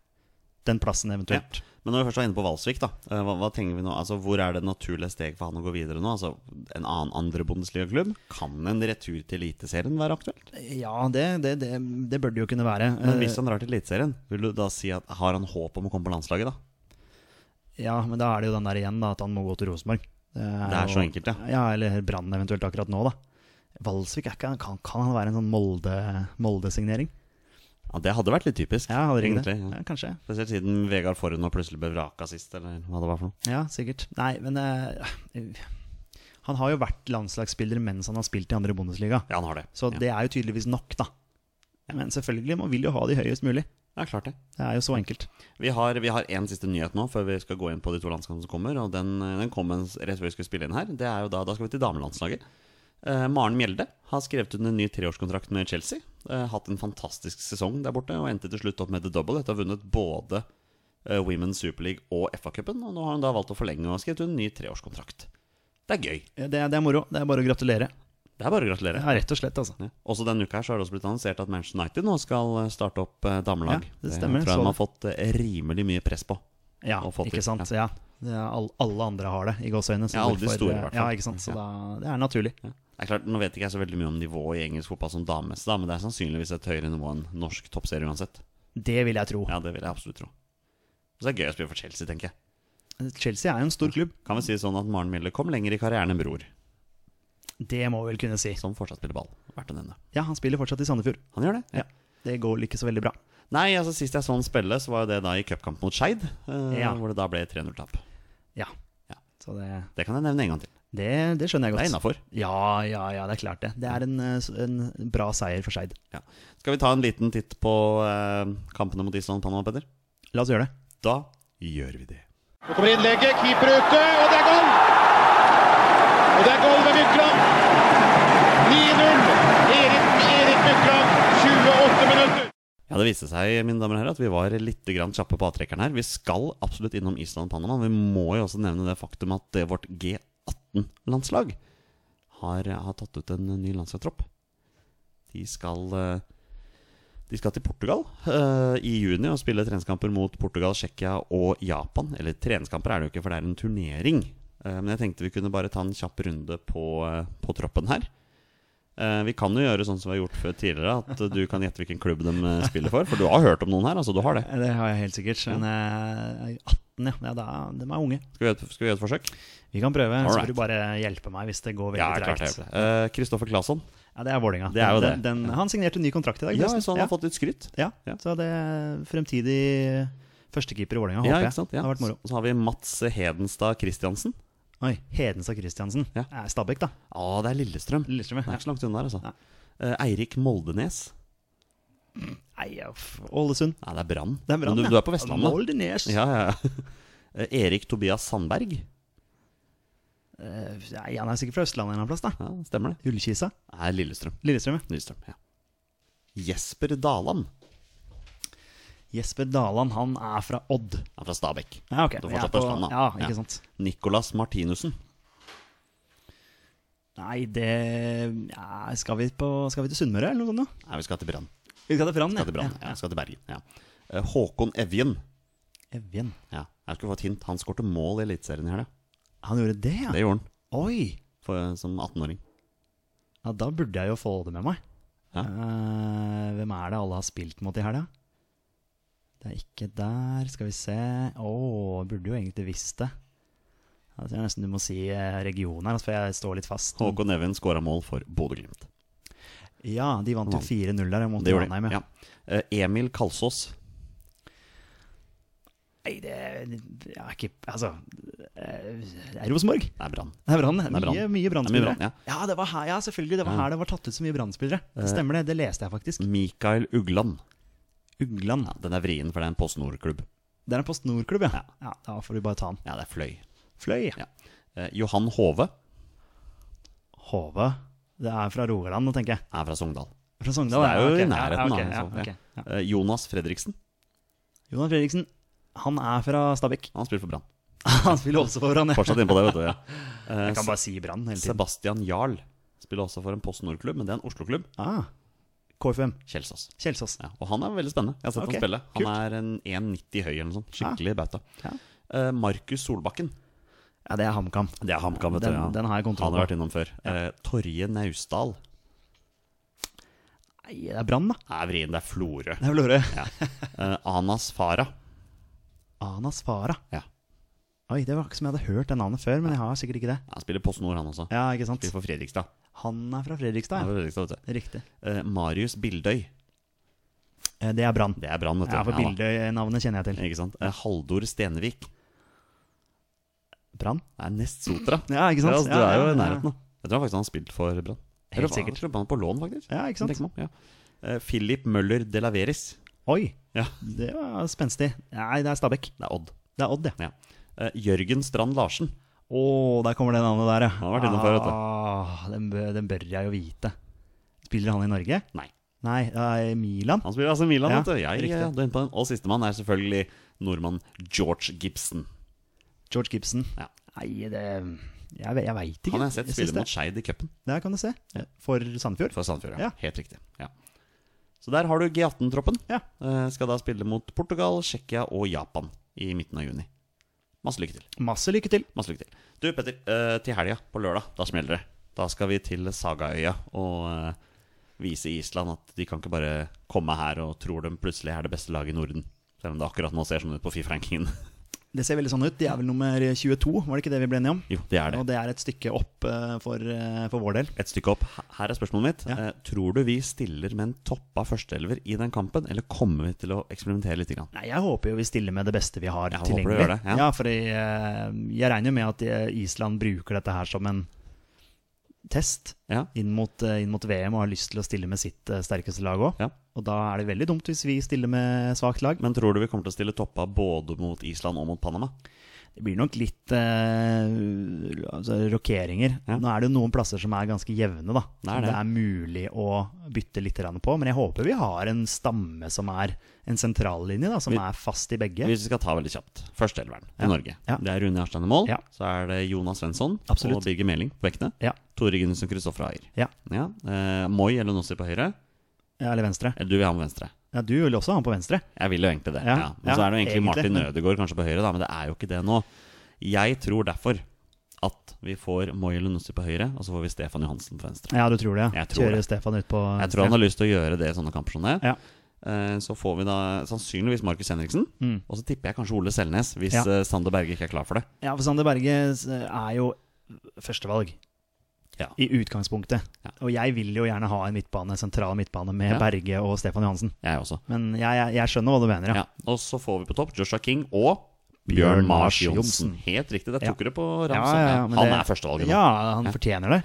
Speaker 3: den plassen eventuelt.
Speaker 2: Men når vi først var inne på Valsvik, da. eh, Hva, hva tenker vi nå? Altså, hvor er det naturlige steg for han å gå videre nå? Altså, En annen andre Bundesliga-klubb? Kan en retur til Eliteserien være aktuelt?
Speaker 3: Ja, det, det, det, det bør det jo kunne være.
Speaker 2: Men hvis han drar til Eliteserien, vil du da si at har han håp om å komme på landslaget, da?
Speaker 3: Eh, ja, men da er det jo den der igjen, da, at han må gå til Rosenborg.
Speaker 2: Det er så enkelt, ja.
Speaker 3: ja. ja eller Brann eventuelt akkurat nå, da. Valsvik, er ikke, kan, kan han være en sånn Molde- Molde-signering?
Speaker 2: ja. Det hadde vært litt typisk.
Speaker 3: ja, hadde ikke det?
Speaker 2: egentlig, ja.
Speaker 3: Ja, kanskje.
Speaker 2: Spesielt siden Vegard Forhund nå plutselig ble vraka sist, eller hva det var for noe.
Speaker 3: Ja, sikkert. Nei, men eh, Han har jo vært landslagsspiller mens han har spilt i andre Bundesliga.
Speaker 2: Ja, han har det.
Speaker 3: Så
Speaker 2: ja.
Speaker 3: det er jo tydeligvis nok, da. Men selvfølgelig, man vil jo ha de høyest mulig.
Speaker 2: Ja, klart det.
Speaker 3: Det er jo så enkelt.
Speaker 2: Vi har, vi har en siste nyhet nå før vi skal gå inn på de to landskampene som kommer. Og den, den kom mens- rett før vi skulle spille inn her. Det er jo da, da skal vi til damelandslaget. Eh, Maren Mjelde har skrevet under en ny treårskontrakt med Chelsea. Eh, hatt en fantastisk sesong der borte og endte til slutt opp med the double etter å ha vunnet både eh, Women's Super League og FA-cupen. Og nå har hun da valgt å forlenge og skrevet under en ny treårskontrakt. Det er gøy.
Speaker 3: Det, det er moro. Det er bare å gratulere.
Speaker 2: Det er bare å gratulere.
Speaker 3: Ja, rett og slett, altså.
Speaker 2: Ja. Også denne uka her så har det også blitt annonsert at Manchester United nå skal eh, starte opp eh, damelag.
Speaker 3: Ja, det stemmer,
Speaker 2: tror
Speaker 3: så
Speaker 2: jeg de har fått eh, rimelig mye press på.
Speaker 3: Ja,
Speaker 2: Og fått
Speaker 3: ikke
Speaker 2: til,
Speaker 3: sant. Ja. Det er all, alle andre har det, i gåseøyne. så
Speaker 2: Ja, alle de
Speaker 3: hvorfor- eh,
Speaker 2: store, i hvert fall.
Speaker 3: Ja, ikke sant. Så da, det er naturlig.
Speaker 2: Ja. Det er klart, Nå vet ikke jeg så veldig mye om nivået i engelsk fotball som dames, da, men det er sannsynligvis et høyere nivå enn norsk toppserie uansett.
Speaker 3: Det vil jeg tro.
Speaker 2: Ja, det vil jeg absolutt tro. Så Så det er gøy å spille for Chelsea, tenker jeg.
Speaker 3: Chelsea er jo en stor klubb,
Speaker 2: Kan vi si sånn at Maren Mille kom lenger i karrieren enn bror,
Speaker 3: det må vi vel kunne si.
Speaker 2: som fortsatt spiller ball. Verdt å nevne.
Speaker 3: Ja, han spiller fortsatt i Sandefjord.
Speaker 2: Han gjør det.
Speaker 3: Ja. Det går vel ikke så veldig bra.
Speaker 2: Nei, altså Sist jeg så han spille, så var jo det da i cupkamp mot Skeid. eh,
Speaker 3: Ja.
Speaker 2: Hvor det da ble 3-0-tap.
Speaker 3: Ja.
Speaker 2: Ja.
Speaker 3: Så det,
Speaker 2: Det kan jeg nevne en gang til.
Speaker 3: det, det skjønner jeg
Speaker 2: Det er
Speaker 3: godt.
Speaker 2: innafor.
Speaker 3: Ja, ja, ja, det er klart det. Det er en, eh, s- en bra seier for Skeid.
Speaker 2: Ja. Skal vi ta en liten titt på eh, kampene mot Island og Panama, Peder?
Speaker 3: La oss gjøre det.
Speaker 2: Da gjør vi det.
Speaker 1: Nå kommer innlegget, keeper ute, og det er goal! Og det er goal ved Mykland. 9-0. Erik, Erik Mykland, 28 minutter.
Speaker 2: Ja, Det viste seg mine damer og herrer, at vi var litt grann kjappe på avtrekkeren her. Vi skal absolutt innom Island og Panama. men Vi må jo også nevne det faktum at eh, vårt G18-landslag har, har tatt ut en ny landslagstropp. De skal, eh, de skal til Portugal eh, i juni og spille treningskamper mot Portugal, Tsjekkia og Japan. Eller treningskamper er det jo ikke, for det er en turnering. Eh, Men jeg tenkte vi kunne bare ta en kjapp runde på, eh, på troppen her. Eh, Vi kan jo gjøre sånn som vi har gjort før tidligere, at eh, du kan gjette hvilken klubb de eh, spiller for. For du har hørt om noen her, altså. Du har det.
Speaker 3: Det har jeg helt sikkert. Men eh, 18, ja. ja da, de er unge.
Speaker 2: Skal vi gjøre et, skal vi gjøre et forsøk?
Speaker 3: Vi kan prøve. Så
Speaker 2: Alright.
Speaker 3: får du bare hjelpe meg hvis det går
Speaker 2: Ja,
Speaker 3: veldig
Speaker 2: klart.
Speaker 3: treigt.
Speaker 2: jeg gjør det. Eh, Kristoffer Claesson.
Speaker 3: Ja, det er Vålerenga.
Speaker 2: Det er jo
Speaker 3: Den-
Speaker 2: det.
Speaker 3: den- Han signerte ny kontrakt i dag.
Speaker 2: Ja,
Speaker 3: forresten.
Speaker 2: så han har fått litt skryt.
Speaker 3: ja.
Speaker 2: Ja.
Speaker 3: Så det er fremtidig førstekeeper i Vålerenga, håper
Speaker 2: Ja,
Speaker 3: jeg.
Speaker 2: ikke sant? Ja.
Speaker 3: Det har vært moro.
Speaker 2: Så så har vi Mats Hedenstad Christiansen.
Speaker 3: Oi, Hedenstad Christiansen.
Speaker 2: Ja.
Speaker 3: Er Stabæk, da.
Speaker 2: Å, det er Lillestrøm. Det
Speaker 3: Lillestrøm,
Speaker 2: er
Speaker 3: ja.
Speaker 2: ikke så langt unna der, altså.
Speaker 3: Nei.
Speaker 2: Eh, Eirik Moldenes.
Speaker 3: Nei, uff. Ålesund.
Speaker 2: Nei, det er Brann.
Speaker 3: Det er Brann,
Speaker 2: Men du,
Speaker 3: ja.
Speaker 2: du er på Vestlandet.
Speaker 3: Moldenes.
Speaker 2: Ja, ja, ja. Eh, Erik Tobias Sandberg.
Speaker 3: Eh, Nei, han er sikkert fra Østlandet en eller annen plass, da.
Speaker 2: Ja, stemmer det?
Speaker 3: Ullkisa.
Speaker 2: Nei, Lillestrøm.
Speaker 3: Lillestrøm, ja.
Speaker 2: Lillestrøm, ja. Jesper Daland.
Speaker 3: Jesper Daland, han er fra Odd.
Speaker 2: Han er fra Stabekk.
Speaker 3: Ja, ok.
Speaker 2: Du er
Speaker 3: Jeg er
Speaker 2: fortsatt på Østlandet, da.
Speaker 3: Ja, ikke
Speaker 2: Ja.
Speaker 3: sant.
Speaker 2: Nicolas Martinussen.
Speaker 3: Nei, det ja, skal, vi på, skal vi til Sunnmøre eller noe sånt? da?
Speaker 2: Nei, vi skal til Brann.
Speaker 3: Vi skal til Brann,
Speaker 2: Vi Skal til Brann, ja. vi Skal til Bergen. Ja. Eh, Håkon Evjen.
Speaker 3: Evjen.
Speaker 2: Ja. Jeg skulle få et hint. Han skårte mål i Eliteserien i helga.
Speaker 3: Han gjorde det, ja?
Speaker 2: Det gjorde han
Speaker 3: Oi!
Speaker 2: for, som 18-åring.
Speaker 3: Ja, da burde jeg jo få det med meg.
Speaker 2: Ja.
Speaker 3: Eh, hvem er det alle har spilt mot i helga? Det er ikke der, skal vi se Å, burde jo egentlig visst det. Jeg tror nesten du må si eh, regionen her, altså, for jeg står litt fast.
Speaker 2: Håkon Evjen skåra mål for Bodø-Glimt.
Speaker 3: Ja, de vant jo 4-0 der mot
Speaker 2: Det gjorde
Speaker 3: Ranheim.
Speaker 2: han.
Speaker 3: Ja.
Speaker 2: Ja. Eh, Emil Kalsås.
Speaker 3: Nei, det Jeg er ikke Altså eh, Det er Rosenborg.
Speaker 2: Det er Brann.
Speaker 3: Det er Brann.
Speaker 2: er
Speaker 3: Mye,
Speaker 2: Brann.
Speaker 3: mye
Speaker 2: Det
Speaker 3: Brann-spillere.
Speaker 2: er mye Brann,
Speaker 3: ja. det var her, ja, selvfølgelig. Det var her det var tatt ut så mye Brann-spillere.
Speaker 2: Eh.
Speaker 3: Det Stemmer det. Det leste jeg faktisk.
Speaker 2: Mikael Ugland.
Speaker 3: Ugland.
Speaker 2: Den er vrien, for det er en Post Nord-klubb.
Speaker 3: Det er en Post Nord-klubb, ja. ja. Da får vi bare ta den.
Speaker 2: Ja, det er Fløy.
Speaker 3: Fløy. ja.
Speaker 2: Ja. Eh, Johan Hove
Speaker 3: Hove. Det er fra Rogaland, nå tenker jeg.
Speaker 2: er fra Sogndal.
Speaker 3: Fra Sogndal.
Speaker 2: Så det er jo
Speaker 3: ja, ok.
Speaker 2: i nærheten,
Speaker 3: ja, ok,
Speaker 2: da. så-
Speaker 3: ja,
Speaker 2: ja.
Speaker 3: ok, ja.
Speaker 2: Eh, Jonas Fredriksen.
Speaker 3: Jonas Fredriksen, han er fra Stabekk.
Speaker 2: Han spiller for Brann.
Speaker 3: Han spiller også for Brann.
Speaker 2: Fortsatt inne på det, vet du. Ja. Eh,
Speaker 3: Jeg kan bare si Brann hele tiden.
Speaker 2: Sebastian Jarl spiller også for en Post Nord-klubb, men det er en Oslo-klubb.
Speaker 3: Ah. KFM.
Speaker 2: Kjelsås.
Speaker 3: Kjelsås.
Speaker 2: Ja, og han er veldig spennende. Jeg har sett
Speaker 3: Ok,
Speaker 2: han spille. Han
Speaker 3: kult. Ah.
Speaker 2: er en 1,90 høy eller noe sånt. Skikkelig bauta.
Speaker 3: Ja.
Speaker 2: Eh, Markus Solbakken.
Speaker 3: Ja, det er HamKam.
Speaker 2: Det er HamKam, vet du.
Speaker 3: Den- den har jeg kontroll
Speaker 2: Han har
Speaker 3: på.
Speaker 2: vært innom før. Eh, Torje Naustdal.
Speaker 3: Nei, det er Brann, da.
Speaker 2: Nei, vrien, det er Florø.
Speaker 3: Det er Florø.
Speaker 2: Eh, Anas Farah.
Speaker 3: Anas Farah.
Speaker 2: Ja.
Speaker 3: Oi, det var ikke som jeg hadde hørt det navnet før, men jeg har sikkert ikke det.
Speaker 2: Han spiller Post Nord, han også.
Speaker 3: Ja, ikke sant?
Speaker 2: Spiller for Fredrikstad.
Speaker 3: Han er fra
Speaker 2: Han
Speaker 3: Fredrikstad,
Speaker 2: er
Speaker 3: ja.
Speaker 2: fra Fredrikstad vet du.
Speaker 3: Riktig.
Speaker 2: Eh, Marius Bildøy.
Speaker 3: Eh, Det er Brann.
Speaker 2: Det er Brann, vet du.
Speaker 3: Ja, for
Speaker 2: da.
Speaker 3: Bildøy-navnet kjenner jeg til.
Speaker 2: Ikke sant? Eh, Haldor Stenvik. Det
Speaker 3: Brann?
Speaker 2: er nest Sotra.
Speaker 3: Ja, ikke sant?
Speaker 2: Ja, altså, du
Speaker 3: Ja,
Speaker 2: er jo
Speaker 3: ja,
Speaker 2: i
Speaker 3: ja.
Speaker 2: nærheten, da. Jeg tror faktisk han har spilt for Brann. Eller hva?
Speaker 3: sikkert.
Speaker 2: Jeg tror Han på lån, faktisk.
Speaker 3: Ja, ikke sant?
Speaker 2: Tenker man, ja. Eh, Philip Møller de Laveris.
Speaker 3: Oi,
Speaker 2: Ja,
Speaker 3: det var spenstig. Nei, det er Stabæk.
Speaker 2: det er Odd.
Speaker 3: Det er Odd, ja.
Speaker 2: Ja. Eh, Jørgen Strand Larsen.
Speaker 3: Å, der kommer det navnet der, ja.
Speaker 2: Han har vært innom før, vet du.
Speaker 3: Ah, den, bø- den bør jeg jo vite. Spiller han i Norge?
Speaker 2: Nei.
Speaker 3: Nei, det er Milan.
Speaker 2: Han spiller altså Milan,
Speaker 3: Ja,
Speaker 2: vet du. Jeg,
Speaker 3: riktig.
Speaker 2: eh, du er inne på den. Og sistemann er selvfølgelig nordmann George Gibson.
Speaker 3: George Gibson.
Speaker 2: Ja.
Speaker 3: Nei, det Jeg, ve- jeg veit ikke.
Speaker 2: Han har jeg sett
Speaker 3: Jeg
Speaker 2: spille
Speaker 3: synes
Speaker 2: mot
Speaker 3: det.
Speaker 2: Skeid i cupen
Speaker 3: Der kan du se. For Sandefjord.
Speaker 2: for Sandefjord.
Speaker 3: Ja.
Speaker 2: Ja. Helt riktig. Ja. Så der har du G18-troppen.
Speaker 3: Ja.
Speaker 2: Eh, skal da spille mot Portugal, Tsjekkia og Japan i midten av juni. Masse lykke til.
Speaker 3: Masse lykke til.
Speaker 2: Masse lykke til. Du, Petter. eh, til helga, på lørdag, da smeller det. Da skal vi til Sagaøya og eh, vise Island at de kan ikke bare komme her og tror de plutselig er det beste laget i Norden. Selv om det akkurat nå ser sånn ut på Fifa-rankingen.
Speaker 3: Det ser veldig sånn ut. De er vel nummer 22, var det ikke det vi ble enige om?
Speaker 2: Jo, det er det.
Speaker 3: Og det er et stykke opp eh, for, eh, for vår del.
Speaker 2: Et stykke opp. Her er spørsmålet mitt.
Speaker 3: Ja.
Speaker 2: Eh, tror du vi stiller med en toppa førsteelver i den kampen, eller kommer vi til å eksperimentere litt? Grann?
Speaker 3: Nei, Jeg håper jo vi stiller med det beste vi har
Speaker 2: Jeg håper du
Speaker 3: tilgjengelig.
Speaker 2: gjør det, ja.
Speaker 3: for jeg, eh, jeg regner jo med at eh, Island bruker dette her som en test
Speaker 2: Ja.
Speaker 3: inn mot, eh, inn mot VM og har lyst til å stille med sitt eh, sterkeste lag òg.
Speaker 2: Ja.
Speaker 3: Og da er det veldig dumt hvis vi stiller med svakt lag.
Speaker 2: Men tror du vi kommer til å stille toppa både mot Island og mot Panama?
Speaker 3: Det blir nok litt eh, altså, rokeringer.
Speaker 2: Ja.
Speaker 3: Nå er det jo noen plasser som er ganske jevne, da.
Speaker 2: Det er
Speaker 3: som
Speaker 2: det.
Speaker 3: det er mulig å bytte litt grann på. Men jeg håper vi har en stamme som er en sentrallinje, da, som
Speaker 2: Vi-
Speaker 3: er fast i begge.
Speaker 2: Hvis vi skal ta veldig kjapt. Førsteelveren i
Speaker 3: Ja.
Speaker 2: Norge.
Speaker 3: Ja.
Speaker 2: Det er Rune Jarstein i mål.
Speaker 3: Ja.
Speaker 2: Så er det Jonas Svensson
Speaker 3: Absolutt.
Speaker 2: og Birger Meling på vektene.
Speaker 3: Ja.
Speaker 2: Tore Gunnisen Kristoffer Ayer.
Speaker 3: Ja.
Speaker 2: Ja. Eh, Moi eller Nossi på høyre.
Speaker 3: Ja, Eller venstre.
Speaker 2: Eller du vil ha med venstre.
Speaker 3: Ja, du vil også ha han på venstre.
Speaker 2: Jeg vil jo egentlig det. Ja.
Speaker 3: Ja.
Speaker 2: Men så
Speaker 3: Ja,
Speaker 2: er det jo egentlig,
Speaker 3: egentlig,
Speaker 2: Martin
Speaker 3: men-
Speaker 2: Ødegaard kanskje på høyre, da, men det er jo ikke det nå. Jeg tror derfor at vi får Moi eller Nossi på høyre, og så får vi Stefan Johansen på venstre.
Speaker 3: Ja, du tror det? ja
Speaker 2: Jeg tror
Speaker 3: Kjører
Speaker 2: det.
Speaker 3: Stefan ut på
Speaker 2: Jeg tror han har lyst til å gjøre det i sånne kamper som det.
Speaker 3: Ja.
Speaker 2: Eh, Så får vi da sannsynligvis Markus Henriksen.
Speaker 3: Mm.
Speaker 2: Og så tipper jeg kanskje Ole Selnes, hvis
Speaker 3: Ja.
Speaker 2: eh, Sander Berge ikke er klar for det.
Speaker 3: Ja, for Sander Berge er jo førstevalg.
Speaker 2: Ja.
Speaker 3: I utgangspunktet.
Speaker 2: Ja.
Speaker 3: Og jeg vil jo gjerne ha en midtbane, sentral midtbane med
Speaker 2: Ja.
Speaker 3: Berge og Stefan Johansen.
Speaker 2: Jeg også.
Speaker 3: Men jeg, jeg, jeg skjønner hva du mener, ja.
Speaker 2: Ja. Og så får vi på topp Joshua King og
Speaker 3: Bjørn
Speaker 2: Bjørn Mars
Speaker 3: Mars
Speaker 2: Johnsen.
Speaker 3: Johnsen.
Speaker 2: Helt riktig, det
Speaker 3: Ja.
Speaker 2: tok dere på
Speaker 3: Ja,
Speaker 2: ramsa.
Speaker 3: ja,
Speaker 2: Ja,
Speaker 3: ja, men
Speaker 2: han
Speaker 3: det-
Speaker 2: er førstevalget nå.
Speaker 3: Ja, han fortjener det.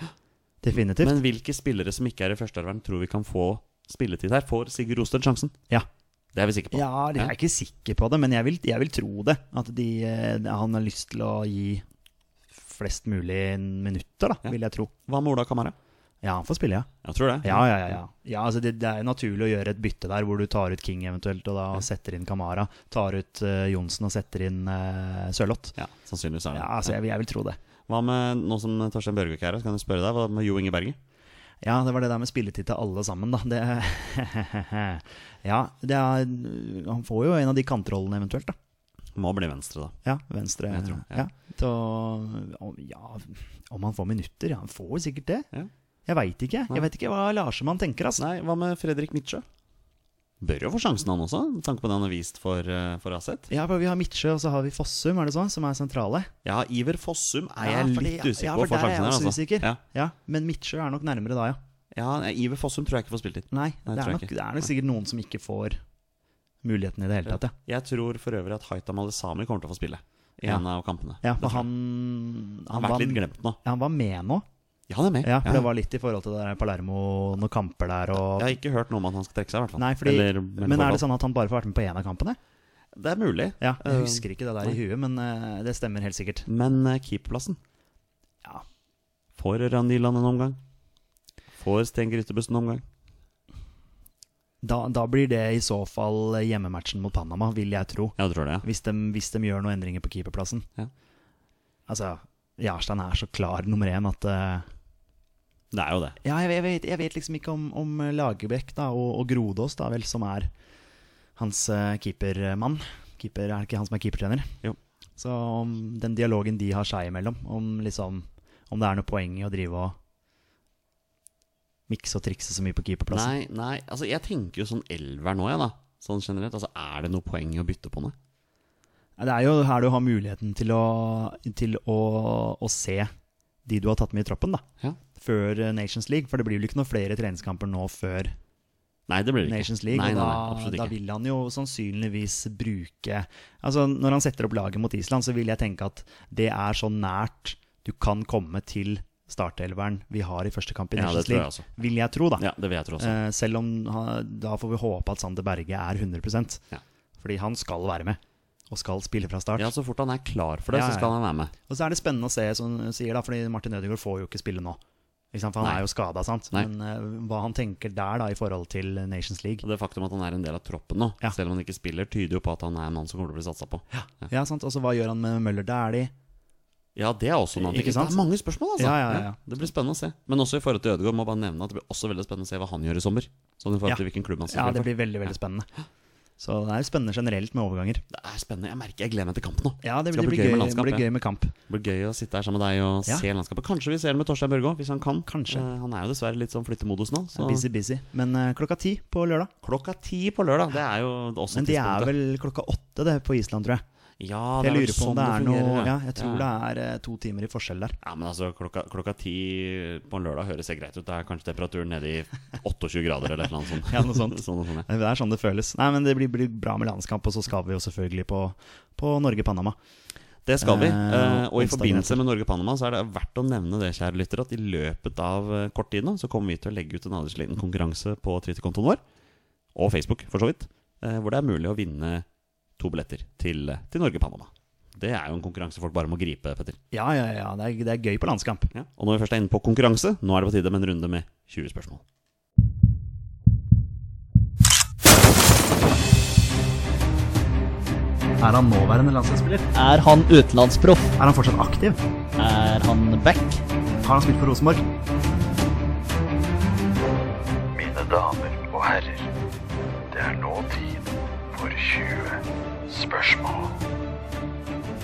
Speaker 3: Definitivt.
Speaker 2: Men hvilke spillere som ikke er i førsteelveren, tror vi kan få spilletid her? Får Sigurd Rosted sjansen?
Speaker 3: Ja.
Speaker 2: Det er vi sikre på.
Speaker 3: ja, jeg er ikke sikker på det, men jeg vil, jeg vil tro det. At de, eh, han har lyst til å gi flest mulig minutter, da,
Speaker 2: Ja.
Speaker 3: vil jeg tro.
Speaker 2: Hva med Ola Kamara?
Speaker 3: Ja, han får spille, ja.
Speaker 2: Jeg tror det.
Speaker 3: Ja, ja, ja. ja. ja altså det, det er jo naturlig å gjøre et bytte der, hvor du tar ut King eventuelt, og da setter inn Kamara. Tar ut eh, Johnsen og setter inn uh, Sørloth.
Speaker 2: Ja, sannsynligvis er det.
Speaker 3: Ja, altså, jeg, jeg vil tro det.
Speaker 2: Hva med nå som Torstein Børge ikke er her, så kan jeg spørre deg. Hva med Jo Inge Berge?
Speaker 3: Ja, det var det der med spilletid til alle sammen, da. Det, ja, det er, han får jo en av de kantrollene eventuelt, da.
Speaker 2: Må bli venstre, da.
Speaker 3: Ja, venstre.
Speaker 2: Jeg tror, ja.
Speaker 3: ja. Så, om- ja, om han får minutter? Ja, han får jo sikkert det.
Speaker 2: Ja.
Speaker 3: Jeg veit ikke.
Speaker 2: Nei.
Speaker 3: Jeg vet ikke hva Larsemann tenker, altså.
Speaker 2: Nei, hva med Fredrik Midtsjø? Bør jo få sjansen, han også, med tanke på det han har vist for, eh, for Aset.
Speaker 3: Ja, for Vi har Midtsjø og så har vi Fossum, er det sånn, som er sentrale.
Speaker 2: Ja, Iver Fossum er
Speaker 3: Ja,
Speaker 2: jeg
Speaker 3: fordi-
Speaker 2: litt usikker
Speaker 3: ja,
Speaker 2: på
Speaker 3: for
Speaker 2: å
Speaker 3: der
Speaker 2: få
Speaker 3: er jeg
Speaker 2: sjansen her.
Speaker 3: også
Speaker 2: Altså.
Speaker 3: usikker.
Speaker 2: Ja.
Speaker 3: Ja, Men Midtsjø er nok nærmere da, ja.
Speaker 2: ja, nei, Iver Fossum tror jeg ikke får spilt inn.
Speaker 3: Nei,
Speaker 2: Nei,
Speaker 3: det,
Speaker 2: tror
Speaker 3: er
Speaker 2: jeg
Speaker 3: nok,
Speaker 2: ikke.
Speaker 3: det er nok sikkert noen som ikke får muligheten i det hele tatt, ja.
Speaker 2: Jeg tror for øvrig at Haita Malisami kommer til å få spille i
Speaker 3: Ja.
Speaker 2: en av kampene.
Speaker 3: Ja,
Speaker 2: Det
Speaker 3: for
Speaker 2: tror jeg.
Speaker 3: han
Speaker 2: han har vært litt glemt nå.
Speaker 3: han var med nå.
Speaker 2: Ja, han er med.
Speaker 3: Ja, for
Speaker 2: Ja.
Speaker 3: det var litt i forhold til det der Palermo, noen kamper der og
Speaker 2: Jeg har ikke hørt noe om at han skal trekke seg, i hvert fall.
Speaker 3: Nei, fordi,
Speaker 2: Eller- eller
Speaker 3: men er
Speaker 2: forhold.
Speaker 3: det sånn at han bare får vært med på én av kampene?
Speaker 2: Det er mulig.
Speaker 3: Ja,
Speaker 2: Eh,
Speaker 3: Jeg husker ikke det der i huet, men eh, det stemmer helt sikkert.
Speaker 2: Men eh, keeperplassen
Speaker 3: Ja.
Speaker 2: Får Randiland en omgang? Får Sten Grytebust en omgang?
Speaker 3: Da, da blir det i så fall hjemmematchen mot Panama, vil jeg tro.
Speaker 2: Jeg tror det, ja.
Speaker 3: Hvis de, hvis de gjør noen endringer på keeperplassen.
Speaker 2: Ja.
Speaker 3: Altså, Jarstein er så klar nummer én at eh,
Speaker 2: Det er jo det.
Speaker 3: Ja, jeg, jeg, vet, jeg vet liksom ikke om, om Lagerbäck da, og, og Grodås, da vel, som er hans eh, keepermann. Keeper, er det ikke han som er keepertrener?
Speaker 2: Jo.
Speaker 3: Så om den dialogen de har seg imellom, om, liksom, om det er noe poeng i å drive og mikse og trikse så mye på keeperplassen.
Speaker 2: Nei, nei, altså jeg tenker jo sånn elver nå, jeg, da. Sånn generelt. Altså, er det noe poeng i å bytte på noe?
Speaker 3: Det er jo her du har muligheten til å, til å, å se de du har tatt med i troppen, da.
Speaker 2: Ja.
Speaker 3: Før eh, Nations League, for det blir vel ikke noen flere treningskamper nå før
Speaker 2: Nei, det blir det ikke.
Speaker 3: Nations League.
Speaker 2: nei, nei, nei,
Speaker 3: og
Speaker 2: absolutt
Speaker 3: da, da
Speaker 2: ikke.
Speaker 3: vil han jo sannsynligvis bruke Altså Når han setter opp laget mot Island, så vil jeg tenke at det er så nært du kan komme til startelveren vi har i første kamp i
Speaker 2: Ja, det
Speaker 3: Nations
Speaker 2: tror jeg
Speaker 3: League.
Speaker 2: også.
Speaker 3: Vil jeg tro, da.
Speaker 2: Ja, det vil jeg tro også.
Speaker 3: Eh, selv om ha- Da får vi håpe at Sander Berge er 100
Speaker 2: Ja.
Speaker 3: Fordi han skal være med. Og skal spille fra start.
Speaker 2: Ja, Så fort han er klar for det,
Speaker 3: Ja,
Speaker 2: så
Speaker 3: ja,
Speaker 2: skal
Speaker 3: ja.
Speaker 2: han være med.
Speaker 3: Og så er det spennende å se, som du sier, da, fordi Martin Ødegaard får jo ikke spille nå. Ikke sant? For han
Speaker 2: Nei.
Speaker 3: er jo skada, sant.
Speaker 2: Nei.
Speaker 3: Men eh, hva han tenker der, da, i forhold til Nations League
Speaker 2: Og det faktum at han er en del av troppen nå,
Speaker 3: Ja.
Speaker 2: selv om han ikke spiller, tyder jo på at han er en mann som kommer til å bli satsa på. Ja,
Speaker 3: Ja, sant? Og så hva gjør han med Møller Dæhlie?
Speaker 2: det er også noe han
Speaker 3: Ikke
Speaker 2: tenker.
Speaker 3: sant?
Speaker 2: Det er mange spørsmål, altså.
Speaker 3: Ja, ja, ja.
Speaker 2: Det blir spennende å se. Men også i forhold til Ødegaard, må jeg bare nevne at det blir også veldig spennende å se hva han gjør i sommer. Sånn i forhold
Speaker 3: Ja.
Speaker 2: til hvilken klubb han skal
Speaker 3: Ja, det
Speaker 2: spille for.
Speaker 3: blir veldig veldig spennende. Så det er spennende generelt med overganger.
Speaker 2: Det er spennende. Jeg merker jeg gleder meg til kamp nå.
Speaker 3: Ja, det
Speaker 2: Skal
Speaker 3: blir,
Speaker 2: bli
Speaker 3: det blir
Speaker 2: gøy
Speaker 3: gøy,
Speaker 2: med
Speaker 3: det
Speaker 2: landskap,
Speaker 3: blir
Speaker 2: ja.
Speaker 3: gøy med kamp.
Speaker 2: Det blir gøy å sitte her sammen med deg og
Speaker 3: Ja.
Speaker 2: se landskapet. Kanskje vi ser det med Torstein Børgo, hvis han kan.
Speaker 3: Kanskje.
Speaker 2: Eh, han er jo dessverre litt sånn flyttemodus nå. Så
Speaker 3: Busy, busy. Men eh, klokka ti på lørdag.
Speaker 2: klokka ti på lørdag, det er jo også
Speaker 3: Men de er
Speaker 2: tidspunktet.
Speaker 3: vel klokka åtte det på Island, tror jeg.
Speaker 2: ja,
Speaker 3: Jeg
Speaker 2: vel
Speaker 3: lurer på om det er
Speaker 2: fungerer,
Speaker 3: noe
Speaker 2: ja.
Speaker 3: Ja, jeg tror det er eh, to timer i forskjell der.
Speaker 2: Ja, men altså, klokka, klokka ti på en lørdag høres det greit ut. Da er kanskje temperaturen nede i 28 grader eller et eller annet sånt.
Speaker 3: Ja, noe sånt.
Speaker 2: sånn, og sånn, ja.
Speaker 3: Det er sånn det føles. Nei, men det blir, blir bra med landskamp, og så skal vi jo selvfølgelig på, på Norge-Panama.
Speaker 2: Det skal vi.
Speaker 3: Eh,
Speaker 2: eh, og i
Speaker 3: onsdag
Speaker 2: forbindelse
Speaker 3: eventuelt.
Speaker 2: med Norge-Panama så er det verdt å nevne det, kjære lytter, at i løpet av eh, kort tid nå så kommer vi til å legge ut en aldersliten konkurranse på Twitter-kontoen vår, og Facebook for så vidt, eh, hvor det er mulig å vinne to billetter til, eh, til Norge-Panama. Det er jo en konkurranse folk bare må gripe, Petter.
Speaker 3: Ja, ja, ja. Det er, det er gøy på landskamp.
Speaker 2: Ja. Og når vi først er inne på konkurranse, nå er det på tide med en runde med 20 spørsmål.
Speaker 3: Er han nåværende landslagsspiller?
Speaker 4: Er han utenlandsproff?
Speaker 3: Er han fortsatt aktiv?
Speaker 4: Er han back?
Speaker 3: Har han spilt for Rosenborg?
Speaker 5: Mine damer og herrer, det er nå tid for 20 spørsmål.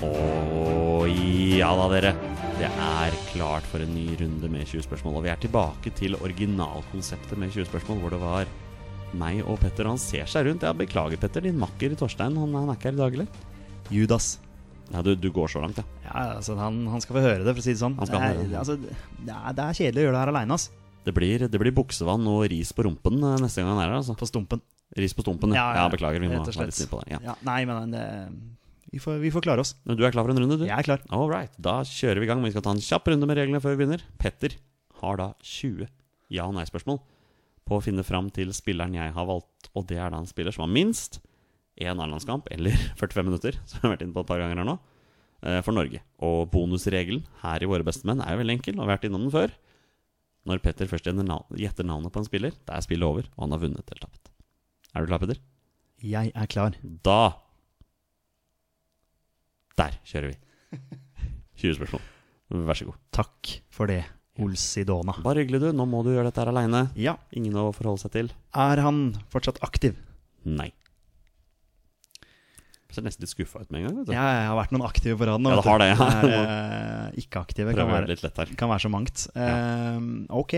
Speaker 2: Og ja da, dere. Det er klart for en ny runde med 20 spørsmål. Og vi er tilbake til originalkonseptet med 20 spørsmål, hvor det var meg og Petter. Han ser seg rundt. Ja, beklager, Petter. Din makker Torstein, han, han er ikke her i dag, eller?
Speaker 3: Judas.
Speaker 2: Ja, du, du går så langt, ja.
Speaker 3: Ja, altså, han, han skal få høre det, for å si det sånn.
Speaker 2: Han skal
Speaker 3: det,
Speaker 2: høre
Speaker 3: er,
Speaker 2: det.
Speaker 3: altså, det, er, det er kjedelig å gjøre det her aleine, ass.
Speaker 2: Det blir, det blir buksevann og ris på rumpen eh, neste gang han er her, altså.
Speaker 3: På stumpen.
Speaker 2: Ris på stumpen, ja.
Speaker 3: Ja, ja,
Speaker 2: ja beklager, vi må
Speaker 3: rett og
Speaker 2: være
Speaker 3: slett.
Speaker 2: litt snille på det. Ja.
Speaker 3: Ja, nei, men det, vi, får, vi får klare oss.
Speaker 2: Men Du er klar for en runde, du?
Speaker 3: Jeg er klar.
Speaker 2: All right, da kjører vi i gang. men Vi skal ta en kjapp runde med reglene før vi begynner. Petter har da 20 ja- og nei-spørsmål på å finne fram til spilleren jeg har valgt. Og det er da en spiller som har minst én A-landskamp, eller 45 minutter, som jeg har vært inne på et par ganger her nå, eh, for Norge. Og bonusregelen her i Våre bestemenn er jo veldig enkel, og vi har vært innom den før. Når Petter først gjetter nav- gjetter navnet på en spiller, det er spillet over, og han har vunnet eller tapt. Er du klar, Petter?
Speaker 3: Jeg er klar.
Speaker 2: Da Der kjører vi. 20 spørsmål. Vær så god.
Speaker 3: Takk for det, Olsidona.
Speaker 2: Bare hyggelig, du. Nå må du gjøre dette her aleine.
Speaker 3: Ja.
Speaker 2: Ingen å forholde seg til.
Speaker 3: Er han fortsatt aktiv?
Speaker 2: Nei. Ser nesten litt skuffa ut med en gang. vet du
Speaker 3: Ja, jeg har vært noen aktive på rad nå.
Speaker 2: Ja,
Speaker 3: vet
Speaker 2: det har det, ja.
Speaker 3: Det er, eh, ikke aktive kan
Speaker 2: Prøver å
Speaker 3: være,
Speaker 2: gjøre det litt lett her.
Speaker 3: kan være så mangt. Eh, ok.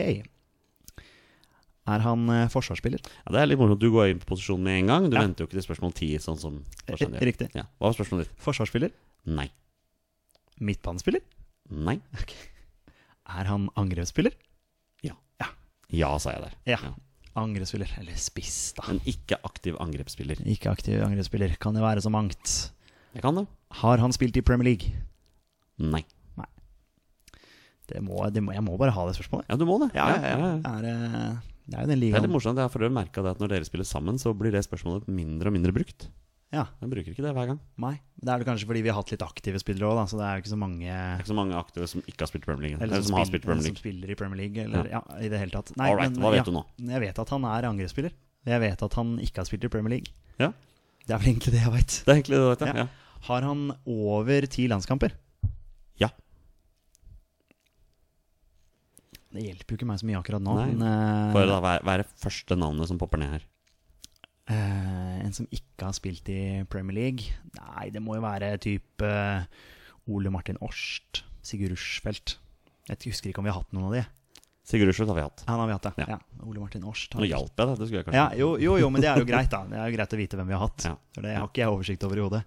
Speaker 3: Er han eh, forsvarsspiller?
Speaker 2: Ja, det er litt morsomt. Du går inn på posisjon med en gang. Du
Speaker 3: Ja.
Speaker 2: venter jo ikke til spørsmål 10, sånn som Torstein
Speaker 3: Eh,
Speaker 2: gjør.
Speaker 3: Riktig.
Speaker 2: Ja. Hva var spørsmålet ditt?
Speaker 3: Forsvarsspiller?
Speaker 2: Nei.
Speaker 3: Midtbanespiller?
Speaker 2: Nei.
Speaker 3: Er han angrepsspiller?
Speaker 2: Ja, sa jeg der.
Speaker 3: Ja. Angrepsspiller, eller spiss, da.
Speaker 2: En ikke aktiv angrepsspiller.
Speaker 3: Ikke aktiv angrepsspiller. Kan det være så mangt?
Speaker 2: Jeg kan det.
Speaker 3: Har han spilt i Premier League?
Speaker 2: Nei.
Speaker 3: Det må, det må, jeg må bare ha det spørsmålet.
Speaker 2: Ja, du må det. ja, ja.
Speaker 3: Er, eh, det er jo den
Speaker 2: Det er litt
Speaker 3: ligaen
Speaker 2: morsomt. Jeg har for øvrig merket det at når dere spiller sammen, så blir det spørsmålet mindre og mindre brukt.
Speaker 3: Ja.
Speaker 2: Jeg bruker ikke det hver gang. Det
Speaker 3: Nei. Det er vel kanskje fordi vi har hatt litt aktive spillere òg, da. Så det er jo ikke så mange
Speaker 2: er ikke så mange aktive som ikke har spilt Premier League. Eller,
Speaker 3: Eller
Speaker 2: som, har spilt Premier
Speaker 3: eller som
Speaker 2: League.
Speaker 3: spiller i Premier League, eller ja, i det hele tatt. Nei,
Speaker 2: All right, hva vet
Speaker 3: ja,
Speaker 2: du nå?
Speaker 3: Jeg vet at han er angrepsspiller. Jeg vet at han ikke har spilt i Premier League.
Speaker 2: Ja.
Speaker 3: Det er vel egentlig det jeg veit.
Speaker 2: Det er egentlig det, vet jeg.
Speaker 3: Ja.
Speaker 2: Ja.
Speaker 3: Har han over ti landskamper?
Speaker 2: Ja.
Speaker 3: Det hjelper jo ikke meg så mye akkurat nå,
Speaker 2: Nei.
Speaker 3: men eh,
Speaker 2: For da være, være første navnet som popper ned her.
Speaker 3: eh, en som ikke har spilt i Premier League Nei, det må jo være type eh, Ole Martin Årst, Sigurd Rushfeldt. Jeg husker ikke om vi har hatt noen av de.
Speaker 2: Sigurd Rushfeldt har vi hatt.
Speaker 3: Han har vi hatt, ja.
Speaker 2: Ja.
Speaker 3: ja. Ole Martin Årst. har
Speaker 2: Nå
Speaker 3: vi-
Speaker 2: hjalp jeg deg, det skulle jeg kanskje.
Speaker 3: Ja, jo, jo, jo, men det er jo greit, da. Det er jo greit å vite hvem vi har hatt.
Speaker 2: Ja.
Speaker 3: For det har ikke jeg oversikt over i hodet.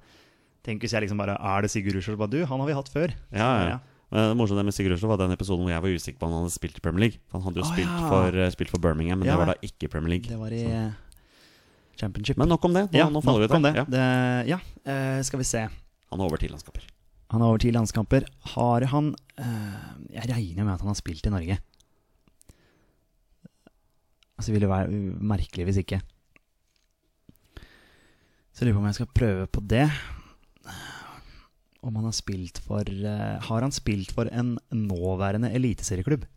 Speaker 3: Tenk hvis jeg liksom bare Er det Sigurd Rushel Badu? Han har vi hatt før.
Speaker 2: Ja, ja,
Speaker 3: Ja.
Speaker 2: ja. Men det morsomme med Sigurd Rushfeldt var den episoden hvor jeg var usikker på om han hadde spilt i Premier League. For Han hadde jo
Speaker 3: Å,
Speaker 2: spilt,
Speaker 3: ja.
Speaker 2: for, eh, spilt for Birmingham, men
Speaker 3: Ja.
Speaker 2: det var da ikke i Premier League.
Speaker 3: Det var i eh, Championship.
Speaker 2: Men nok om det. Nå,
Speaker 3: ja,
Speaker 2: nå faller vi
Speaker 3: nok om
Speaker 2: til.
Speaker 3: det.
Speaker 2: Ja.
Speaker 3: det ja. eh, skal vi se.
Speaker 2: Han er over ti landskamper.
Speaker 3: Han har over ti landskamper. Har han eh, Jeg regner med at han har spilt i Norge. Altså, det ville være uh, merkelig hvis ikke. Så jeg lurer på om jeg skal prøve på det. Om han har spilt for eh, Har han spilt for en nåværende eliteserieklubb?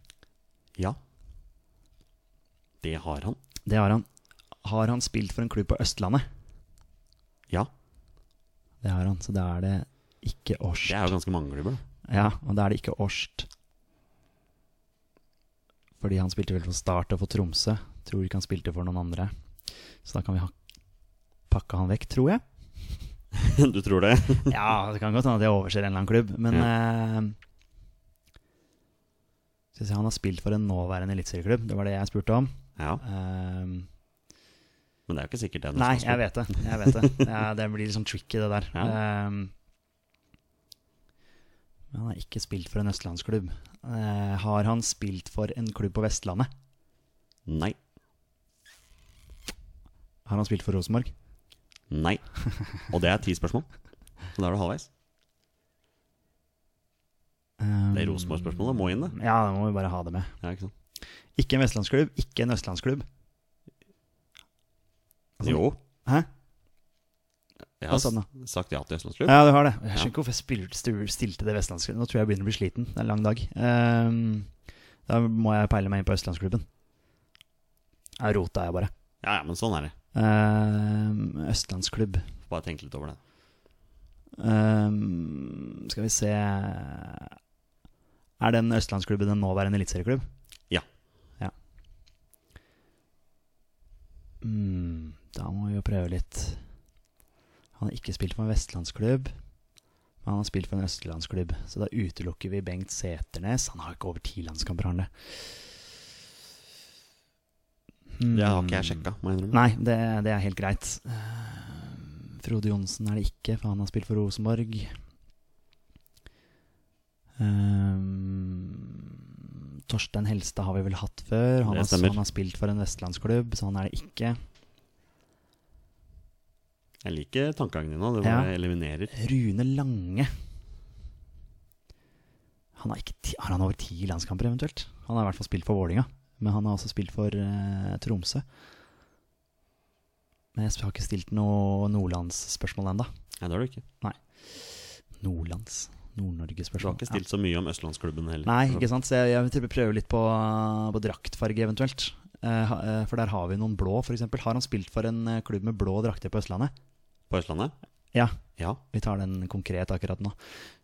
Speaker 2: Ja. Det har han.
Speaker 3: Det har han. Har han spilt for en klubb på Østlandet?
Speaker 2: Ja.
Speaker 3: Det har han, så da er det ikke Årst.
Speaker 2: Det er jo ganske mange klubber, da.
Speaker 3: Ja, og da er det ikke Årst. Fordi han spilte vel for Start og for Tromsø. Tror ikke han spilte for noen andre. Så da kan vi ha pakka han vekk, tror jeg.
Speaker 2: Du tror det?
Speaker 3: Ja, det kan godt hende at jeg overser en eller annen klubb, men eh, skal vi se, Han har spilt for en nåværende eliteserieklubb, det var det jeg spurte om.
Speaker 2: Ja,
Speaker 3: Eh,
Speaker 2: men det er jo ikke sikkert det. er noe
Speaker 3: nei,
Speaker 2: som
Speaker 3: jeg vet det. Jeg vet det. Ja, det blir liksom tricky, det der. Eh, men han har ikke spilt for en østlandsklubb. Eh, har han spilt for en klubb på Vestlandet?
Speaker 2: spiller. Nei.
Speaker 3: Har han spilt for Rosenborg?
Speaker 2: Nei. Og det er ti spørsmål. Så da er du halvveis.
Speaker 3: Eh,
Speaker 2: Det Rosenborg-spørsmålet må inn, det.
Speaker 3: Ja, det må vi bare ha det med.
Speaker 2: Ja, ikke sant?
Speaker 3: Ikke en vestlandsklubb, ikke en østlandsklubb. Altså,
Speaker 2: Jo,
Speaker 3: Hæ?
Speaker 2: jeg
Speaker 3: Hva sa den da?
Speaker 2: har sagt ja til Østlandsklubb.
Speaker 3: Ja, du har det. Jeg skjønner ikke hvorfor jeg spiller, stu- stilte det vestlandsklubben. Nå tror jeg jeg begynner å bli sliten. Det er en lang dag. Ehm, da må jeg peile meg inn på østlandsklubben. Ja, rota jeg bare.
Speaker 2: Ja, ja, men sånn er det.
Speaker 3: Ehm, østlandsklubb.
Speaker 2: Bare tenk litt over det.
Speaker 3: Ehm, skal vi se Er den østlandsklubben en nåværende eliteserieklubb?
Speaker 2: Ja.
Speaker 3: Ja. Mm, da må vi jo prøve litt. Han har ikke spilt for en vestlandsklubb, men han har spilt for en østlandsklubb. Så da utelukker vi Bengt Seternes. Han har ikke over ti landskamper, har han det?
Speaker 2: Det har ikke jeg sjekka, må jeg innrømme.
Speaker 3: Nei, det, det er helt greit. Eh, Frode Johnsen er det ikke, for han har spilt for Rosenborg. Ehm, Eh, Torstein Helstad har vi vel hatt før. Han
Speaker 2: Det
Speaker 3: har,
Speaker 2: stemmer.
Speaker 3: han har spilt for en vestlandsklubb, så han er det ikke.
Speaker 2: Jeg liker tankegangen din nå. Det
Speaker 3: Ja.
Speaker 2: bare eliminerer.
Speaker 3: Rune Lange han har, ikke ti, har han over ti landskamper, eventuelt? Han har i hvert fall spilt for Vålinga, men han har også spilt for eh, Tromsø. Men jeg har ikke stilt noe Nordlandsspørsmål ennå.
Speaker 2: Nei, det har du ikke.
Speaker 3: Nordlands.
Speaker 2: Du har
Speaker 3: Nord-Norge-spørsmål.
Speaker 2: ikke stilt så mye om Østlandsklubben heller.
Speaker 3: Nei, ikke sant. Så jeg, jeg vil prøve litt på, på draktfarge, eventuelt. Eh, ha- eh, for der har vi noen blå, f.eks. Har han spilt for en eh, klubb med blå drakter på Østlandet?
Speaker 2: På Østlandet?
Speaker 3: Ja,
Speaker 2: Ja.
Speaker 3: vi tar den konkret akkurat nå.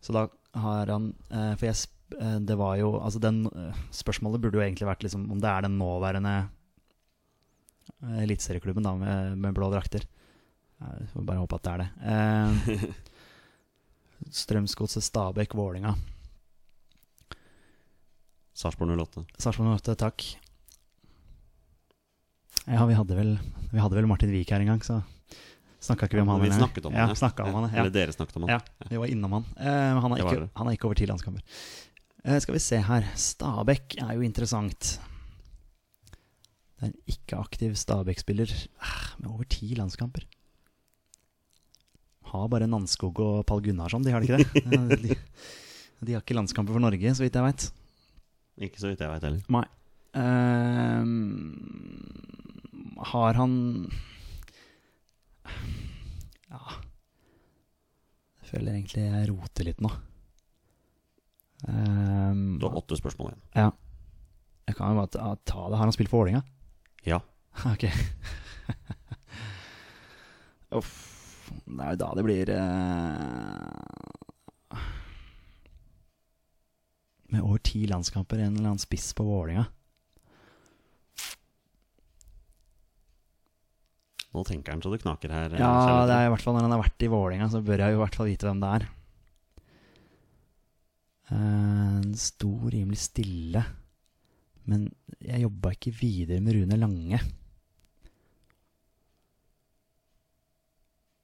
Speaker 3: Så da har han eh, For jeg sp- eh, Det var jo Altså, den eh, spørsmålet burde jo egentlig vært liksom om det er den nåværende eh, eliteserieklubben da, med, med blå drakter. Ja, vi får bare håpe at det er det. Eh, Strømsgodset, Stabæk, Vålinga.
Speaker 2: Sarpsborg 08.
Speaker 3: Sarpsborg 08, takk. Ja, vi hadde vel, vi hadde vel Martin Wiik her en gang, så snakka ikke vi om han.
Speaker 2: Vi
Speaker 3: en gang.
Speaker 2: snakket om
Speaker 3: ja,
Speaker 2: han,
Speaker 3: snakket om han. Ja.
Speaker 2: Eller dere snakket om han.
Speaker 3: Ja, vi var innom han. Eh, men han, har
Speaker 2: Det var
Speaker 3: ikke,
Speaker 2: dere.
Speaker 3: han har ikke over ti landskamper. Eh, skal vi se her. Stabæk er jo interessant. Det er en ikke-aktiv Stabæk-spiller eh, med over ti landskamper. Har bare Nanskog og Pall Gunnarsson, de har det ikke det? Eh, de, de har ikke landskamper for Norge, så vidt jeg veit.
Speaker 2: Ikke så vidt jeg veit heller.
Speaker 3: Nei. Ehm, har han Ja Jeg føler egentlig jeg roter litt nå. Ehm,
Speaker 2: Du har åtte spørsmål igjen.
Speaker 3: ja. Jeg kan jo bare ta, ta det. Har han spilt for Vålerenga?
Speaker 2: Ja.
Speaker 3: Ok. Uff. Det er jo da det blir eh, Med over ti landskamper, en eller annen spiss på Vålerenga.
Speaker 2: Nå tenker han så det knaker her. eh,
Speaker 3: Ja,
Speaker 2: Kjell.
Speaker 3: det er i hvert fall når han har vært i Vålinga, så bør jeg jo i hvert fall vite hvem det er. Eh, En sto rimelig stille, men jeg jobba ikke videre med Rune Lange.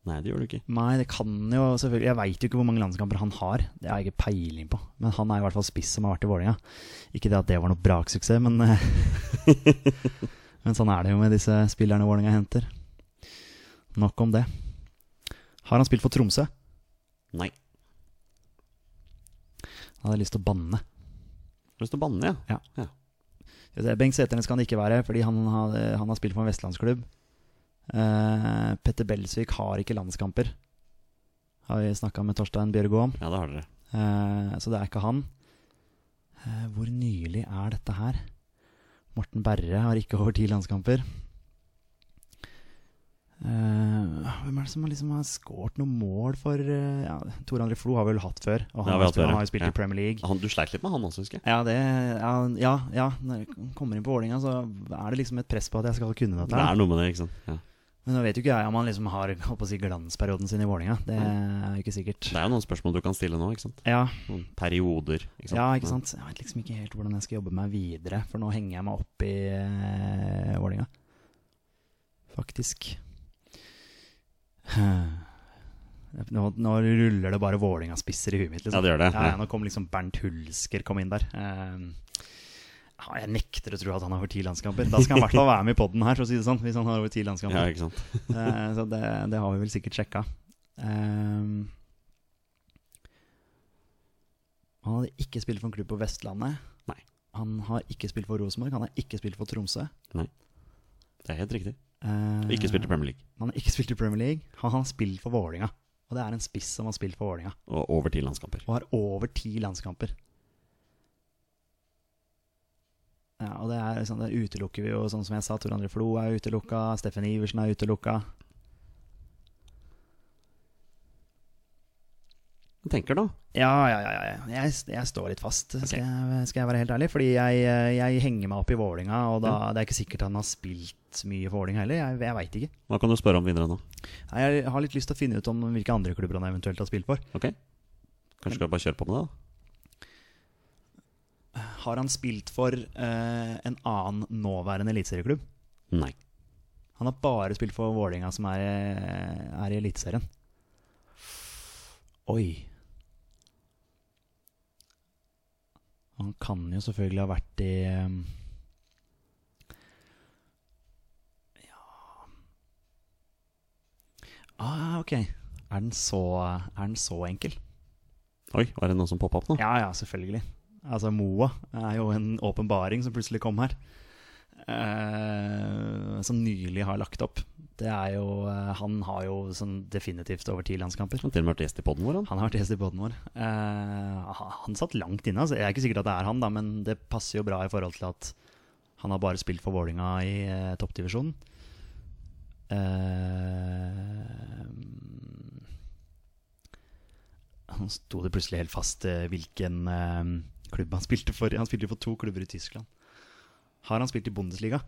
Speaker 2: Nei, det gjør du ikke.
Speaker 3: Nei, det kan jo selvfølgelig Jeg veit jo ikke hvor mange landskamper han har. Det har jeg ikke peiling på. Men han er i hvert fall spiss som har vært i Vålinga. Ikke det at det var noe braksuksess, men eh, Men sånn er det jo med disse spillerne Vålinga henter. Nok om det. Har han spilt for Tromsø?
Speaker 2: Nei.
Speaker 3: Han hadde lyst til å banne.
Speaker 2: Har du lyst til å banne, ja?
Speaker 3: Ja. Skal vi se, Bengt Seternes kan det ikke være, fordi han har, eh, han har spilt for en vestlandsklubb. Eh, Petter Belsvik har ikke landskamper, har vi snakka med Torstein Bjørgo om.
Speaker 2: Ja, det har dere.
Speaker 3: Eh, så det er ikke han. Eh, hvor nylig er dette her? Morten Berre har ikke over ti landskamper. Eh, hvem er det som har liksom har skåret noe mål for eh, ja, Tor André Flo har vi vel hatt før. Og
Speaker 2: Det
Speaker 3: han,
Speaker 2: har
Speaker 3: har
Speaker 2: vi hatt
Speaker 3: spilt,
Speaker 2: før,
Speaker 3: han
Speaker 2: ja.
Speaker 3: har jo spilt
Speaker 2: Ja.
Speaker 3: i Premier League.
Speaker 2: Han, du sleit litt med han også, husker jeg.
Speaker 3: Ja, det, ja, ja, ja, når jeg kommer inn på Vålinga, så er det liksom et press på at jeg skal kunne dette.
Speaker 2: Det
Speaker 3: her.
Speaker 2: er noe med det, ikke sant. Ja.
Speaker 3: Men nå vet jo ikke jeg om han liksom har holdt på å si, glansperioden sin i Vålinga. Det er jo ikke sikkert.
Speaker 2: Det er jo noen spørsmål du kan stille nå. ikke sant?
Speaker 3: Ja,
Speaker 2: Noen perioder. Ikke sant? Mm.
Speaker 3: ja, ikke sant? Jeg vet liksom ikke helt hvordan jeg skal jobbe meg videre, for nå henger jeg meg opp i eh, Vålinga. Faktisk. Nå, nå ruller det bare Vålinga-spisser i huet mitt. Liksom.
Speaker 2: Ja, det gjør det.
Speaker 3: Ja,
Speaker 2: Ja.
Speaker 3: ja, nå kom liksom Bernt Hulsker kom inn der. Ehm, ja, jeg nekter å tro at han har over ti landskamper. Da skal han i hvert fall være med i poden her, for å si det sånn. Hvis han har over ti landskamper.
Speaker 2: Ja, ikke sant?
Speaker 3: Eh, så det, det har vi vel sikkert sjekka. Ehm, han hadde ikke spilt for en klubb på Vestlandet.
Speaker 2: Nei.
Speaker 3: Han har ikke spilt for Rosenborg, han har ikke spilt for Tromsø.
Speaker 2: Det er helt riktig.
Speaker 3: Eh,
Speaker 2: Ikke spilt i Premier League.
Speaker 3: Han har ikke spilt i Premier League. Han har spilt for Vålinga Og det er en spiss som har spilt for Vålinga
Speaker 2: Og over ti landskamper.
Speaker 3: og har over ti landskamper. Ja, og det er sånn, det utelukker vi jo, sånn som jeg sa. Tor André Flo er utelukka. Steffen Iversen er utelukka.
Speaker 2: Jeg tenker nå.
Speaker 3: Ja, ja, ja. ja. Jeg, jeg står litt fast, skal, jeg, skal jeg være helt ærlig. Fordi jeg, eh, jeg henger meg opp i Vålinga og da, det er ikke sikkert han har spilt mye for Vålinga heller. Jeg, jeg veit ikke.
Speaker 2: Hva kan du spørre om videre nå?
Speaker 3: Nei, Jeg har litt lyst til å finne ut om hvilke andre klubber han eventuelt har spilt for.
Speaker 2: Ok? Kanskje skal vi bare kjøre på med det, da?
Speaker 3: Har han spilt for eh, en annen nåværende eliteserieklubb?
Speaker 2: Nei.
Speaker 3: Han har bare spilt for Vålinga som er, eh, er i Eliteserien. Oi. Han kan jo selvfølgelig ha vært i eh, Ja Ah, ok. Er den så, er den så enkel?
Speaker 2: Oi, var det noen som poppa opp nå?
Speaker 3: Ja, ja, selvfølgelig. Altså, Moa er jo en åpenbaring som plutselig kom her. Eh, som nylig har lagt opp. Det er jo, eh, Han har jo sånn definitivt over ti landskamper.
Speaker 2: Han har til og med vært gjest i podden vår, han.
Speaker 3: Han har vært gjest i poden vår. Eh, han han satt langt inne. Altså. Jeg er ikke sikker at det er han, da, men det passer jo bra i forhold til at han har bare spilt for Vålinga i eh, toppdivisjonen. Eh, han sto det plutselig helt fast eh, hvilken eh, klubb han spilte for. Han spilte for to klubber i Tyskland. Har han spilt i Bundesliga?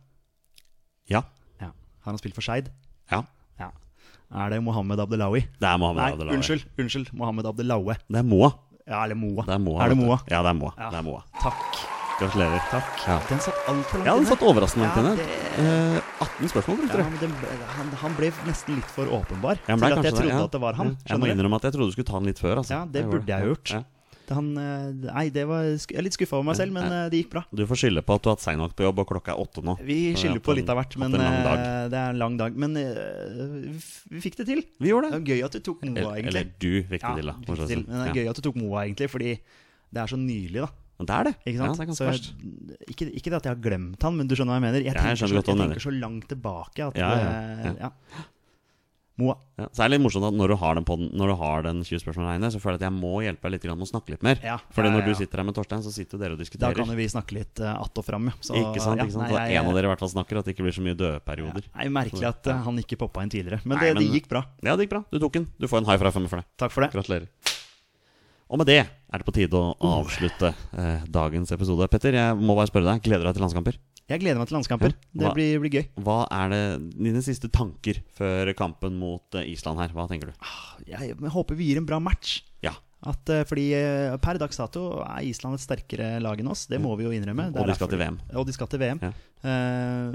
Speaker 2: Ja.
Speaker 3: Ja. Har han spilt for Skeid?
Speaker 2: Ja.
Speaker 3: Ja. Er det Mohammed Abdelawi?
Speaker 2: Det er Mohammed
Speaker 3: Nei,
Speaker 2: Abdelawi.
Speaker 3: unnskyld. unnskyld Mohammed Abdelawe.
Speaker 2: Det er Moa.
Speaker 3: Ja, eller Moa.
Speaker 2: Det er Moa.
Speaker 3: Er det
Speaker 2: vet du.
Speaker 3: Moa?
Speaker 2: Ja, det er Moa.
Speaker 3: Ja.
Speaker 2: Det er Moa.
Speaker 3: Takk.
Speaker 2: Gratulerer.
Speaker 3: Takk.
Speaker 2: Ja.
Speaker 3: Den satt altfor langt
Speaker 2: Ja, den
Speaker 3: inne.
Speaker 2: satt overraskende langt
Speaker 3: Ja,
Speaker 2: inne.
Speaker 3: det-
Speaker 2: Eh, 18 spørsmål, brukte
Speaker 3: Ja,
Speaker 2: du.
Speaker 3: men den, han, han ble nesten litt for åpenbar
Speaker 2: Ja, men det
Speaker 3: til
Speaker 2: er
Speaker 3: at jeg
Speaker 2: kanskje
Speaker 3: trodde
Speaker 2: ja.
Speaker 3: at det var han.
Speaker 2: Ja. Jeg må
Speaker 3: Skjønner du?
Speaker 2: innrømme at jeg trodde du skulle ta den litt før. Altså.
Speaker 3: Ja, det
Speaker 2: gjorde
Speaker 3: burde jeg jo gjort.
Speaker 2: Ja.
Speaker 3: Han, eh, nei, det var, sk- jeg er litt skuffa over meg selv, men
Speaker 2: Nei.
Speaker 3: eh, det gikk bra.
Speaker 2: Du får skylde på at du har hatt sein vakt på jobb, og klokka er åtte nå.
Speaker 3: Vi
Speaker 2: Så
Speaker 3: skylder
Speaker 2: hatt
Speaker 3: på
Speaker 2: en-
Speaker 3: litt av hvert, men
Speaker 2: hatt en lang dag.
Speaker 3: eh, det er en lang dag. Men eh, vi f- vi fikk det til.
Speaker 2: Vi gjorde
Speaker 3: Det
Speaker 2: det.
Speaker 3: er gøy at du tok Moa,
Speaker 2: Eller,
Speaker 3: egentlig.
Speaker 2: eller du fikk det
Speaker 3: Ja,
Speaker 2: til, da.
Speaker 3: du
Speaker 2: for
Speaker 3: fikk
Speaker 2: å si
Speaker 3: det til.
Speaker 2: det sånn.
Speaker 3: Men det
Speaker 2: Ja.
Speaker 3: er gøy at du tok Moa, egentlig, fordi det er så nylig, da.
Speaker 2: Men Det er det.
Speaker 3: Ikke
Speaker 2: Ja,
Speaker 3: sant?
Speaker 2: det er ganske
Speaker 3: Så
Speaker 2: verst.
Speaker 3: jeg- Ikke, ikke det at jeg har glemt han, men du skjønner hva jeg mener. Jeg
Speaker 2: Ja, jeg
Speaker 3: tenker,
Speaker 2: skjønner
Speaker 3: så,
Speaker 2: godt hva du
Speaker 3: jeg
Speaker 2: mener.
Speaker 3: tenker så langt tilbake at
Speaker 2: Ja, ja,
Speaker 3: eh,
Speaker 2: ja.
Speaker 3: ja. Moa.
Speaker 2: Ja, så er det litt morsomt at når du har den, podden, når du har den 20 spørsmål Reine, så føler jeg at jeg må hjelpe deg litt grann med å snakke litt mer.
Speaker 3: Ja,
Speaker 2: Fordi
Speaker 3: ja, ja,
Speaker 2: når du
Speaker 3: ja.
Speaker 2: sitter her med Torstein, så sitter jo dere og
Speaker 3: Da
Speaker 2: diskuterer.
Speaker 3: kan jo vi snakke litt eh, att og fram, ja. Så,
Speaker 2: ikke sant?
Speaker 3: ja,
Speaker 2: ikke sant?
Speaker 3: nei,
Speaker 2: så
Speaker 3: jeg-
Speaker 2: en av dere i hvert fall snakker, at det ikke blir så mye døde
Speaker 3: ja,
Speaker 2: perioder.
Speaker 3: nei, merkelig at eh, han ikke poppa inn tidligere. Men,
Speaker 2: Nei,
Speaker 3: det,
Speaker 2: men-
Speaker 3: det gikk bra.
Speaker 2: Ja, det gikk bra. Du tok den. Du får en high fra fem for det.
Speaker 3: Takk for det.
Speaker 2: Gratulerer. Og med det er det på tide å avslutte eh, dagens episode. Petter, jeg må bare spørre deg. Gleder du deg til landskamper?
Speaker 3: Jeg gleder meg til landskamper.
Speaker 2: Ja, hva-
Speaker 3: Det blir, blir gøy.
Speaker 2: Hva er det dine siste tanker før kampen mot eh, Island her? Hva tenker du?
Speaker 3: Jeg, jeg håper vi gir en bra match.
Speaker 2: Ja.
Speaker 3: At, eh, fordi eh, per dags dato er Island et sterkere lag enn oss. Det må vi jo innrømme. Det
Speaker 2: Og
Speaker 3: er
Speaker 2: de skal
Speaker 3: derfor-
Speaker 2: til VM.
Speaker 3: Og de skal til VM.
Speaker 2: Ja.
Speaker 3: Eh,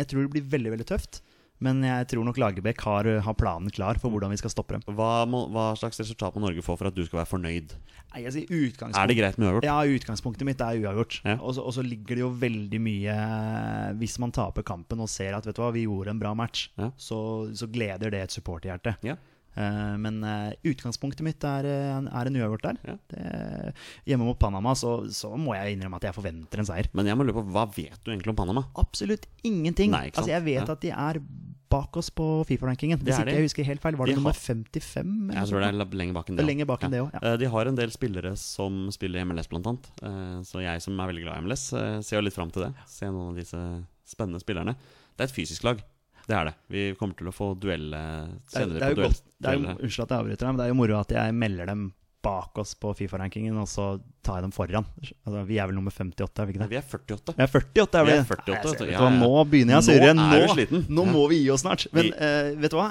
Speaker 3: jeg tror det blir veldig veldig tøft. Men jeg tror nok Lagerbäck har, har planen klar
Speaker 2: Mm.
Speaker 3: for hvordan vi skal stoppe dem.
Speaker 2: Hva, må, hva slags resultat må Norge få for at du skal være fornøyd?
Speaker 3: Nei, jeg sier utgangspunkt.
Speaker 2: Er det greit med uavgjort?
Speaker 3: Ja, utgangspunktet mitt er uavgjort.
Speaker 2: Ja.
Speaker 3: Og så- og så ligger det jo veldig mye eh, Hvis man taper kampen og ser at vet du hva, vi gjorde en bra match,
Speaker 2: Ja.
Speaker 3: så, så gleder det et supporterhjerte.
Speaker 2: Ja.
Speaker 3: Eh, men eh, utgangspunktet mitt er, eh, er en uavgjort der.
Speaker 2: Ja.
Speaker 3: Det, hjemme mot Panama så, så må jeg innrømme at jeg forventer en seier.
Speaker 2: Men jeg må lure på, hva vet du egentlig om Panama?
Speaker 3: Absolutt ingenting.
Speaker 2: Nei, ikke sant?
Speaker 3: altså, jeg vet
Speaker 2: Ja.
Speaker 3: at de er bak oss på Fifa-rankingen.
Speaker 2: Det
Speaker 3: Hvis
Speaker 2: er
Speaker 3: ikke
Speaker 2: de.
Speaker 3: jeg husker helt feil, var
Speaker 2: De
Speaker 3: det nummer
Speaker 2: har-
Speaker 3: 55?
Speaker 2: Jeg tror det er lenger bak enn det.
Speaker 3: Lenger bak enn det også, ja.
Speaker 2: Eh, De har en del spillere som spiller i MLS, blant annet. Eh, Så jeg som er veldig glad i MLS, eh, ser jo litt fram til det. Se noen av disse spennende spillerne. Det er et fysisk lag. Det er det. Vi kommer til å få duelle
Speaker 3: Det er,
Speaker 2: senere
Speaker 3: det er
Speaker 2: på
Speaker 3: jo
Speaker 2: duell.
Speaker 3: godt det er jo,
Speaker 2: dueller her.
Speaker 3: Unnskyld at jeg avbryter deg, men det er jo moro at jeg melder dem bak oss på Fifa-rankingen, og så tar jeg dem foran. Altså, vi er vel nummer 58, er vi ikke
Speaker 2: Nei,
Speaker 3: det?
Speaker 2: vi er 48.
Speaker 3: Vi er 48, er vi?
Speaker 2: Vi er
Speaker 3: Nei, jeg ser-
Speaker 2: 48, vet du.
Speaker 3: vet du
Speaker 2: Ja,
Speaker 3: hva,
Speaker 2: ja.
Speaker 3: Nå begynner jeg å
Speaker 2: Nå
Speaker 3: surre.
Speaker 2: er du
Speaker 3: Nå,
Speaker 2: sliten.
Speaker 3: nå
Speaker 2: Ja.
Speaker 3: må vi gi oss snart. Men
Speaker 2: Vi-
Speaker 3: eh, vet du hva?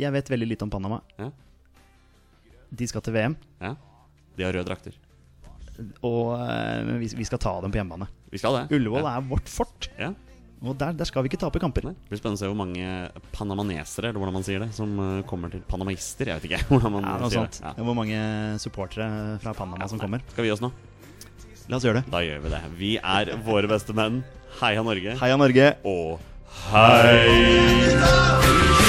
Speaker 3: Jeg vet veldig lite om Panama.
Speaker 2: Ja.
Speaker 3: De skal til VM,
Speaker 2: Ja. De har røde drakter.
Speaker 3: og eh, men vi, vi skal ta dem på hjemmebane.
Speaker 2: Vi skal det.
Speaker 3: Ullevål er vårt fort,
Speaker 2: ja. ja.
Speaker 3: og der, der skal vi ikke tape kamper.
Speaker 2: Nei. Det blir spennende å se hvor mange panamanesere, eller hvordan man sier det, som eh, kommer til Panamaister. Jeg vet ikke hvordan man
Speaker 3: Ja, noe
Speaker 2: sier
Speaker 3: sånt.
Speaker 2: det. Ja.
Speaker 3: Hvor mange supportere fra Panama som
Speaker 2: Nei.
Speaker 3: kommer.
Speaker 2: Skal vi gi oss nå?
Speaker 3: La oss gjøre det.
Speaker 2: Da gjør vi det. Vi er våre beste menn. Heia Norge.
Speaker 3: Heia Norge!
Speaker 2: Og hei!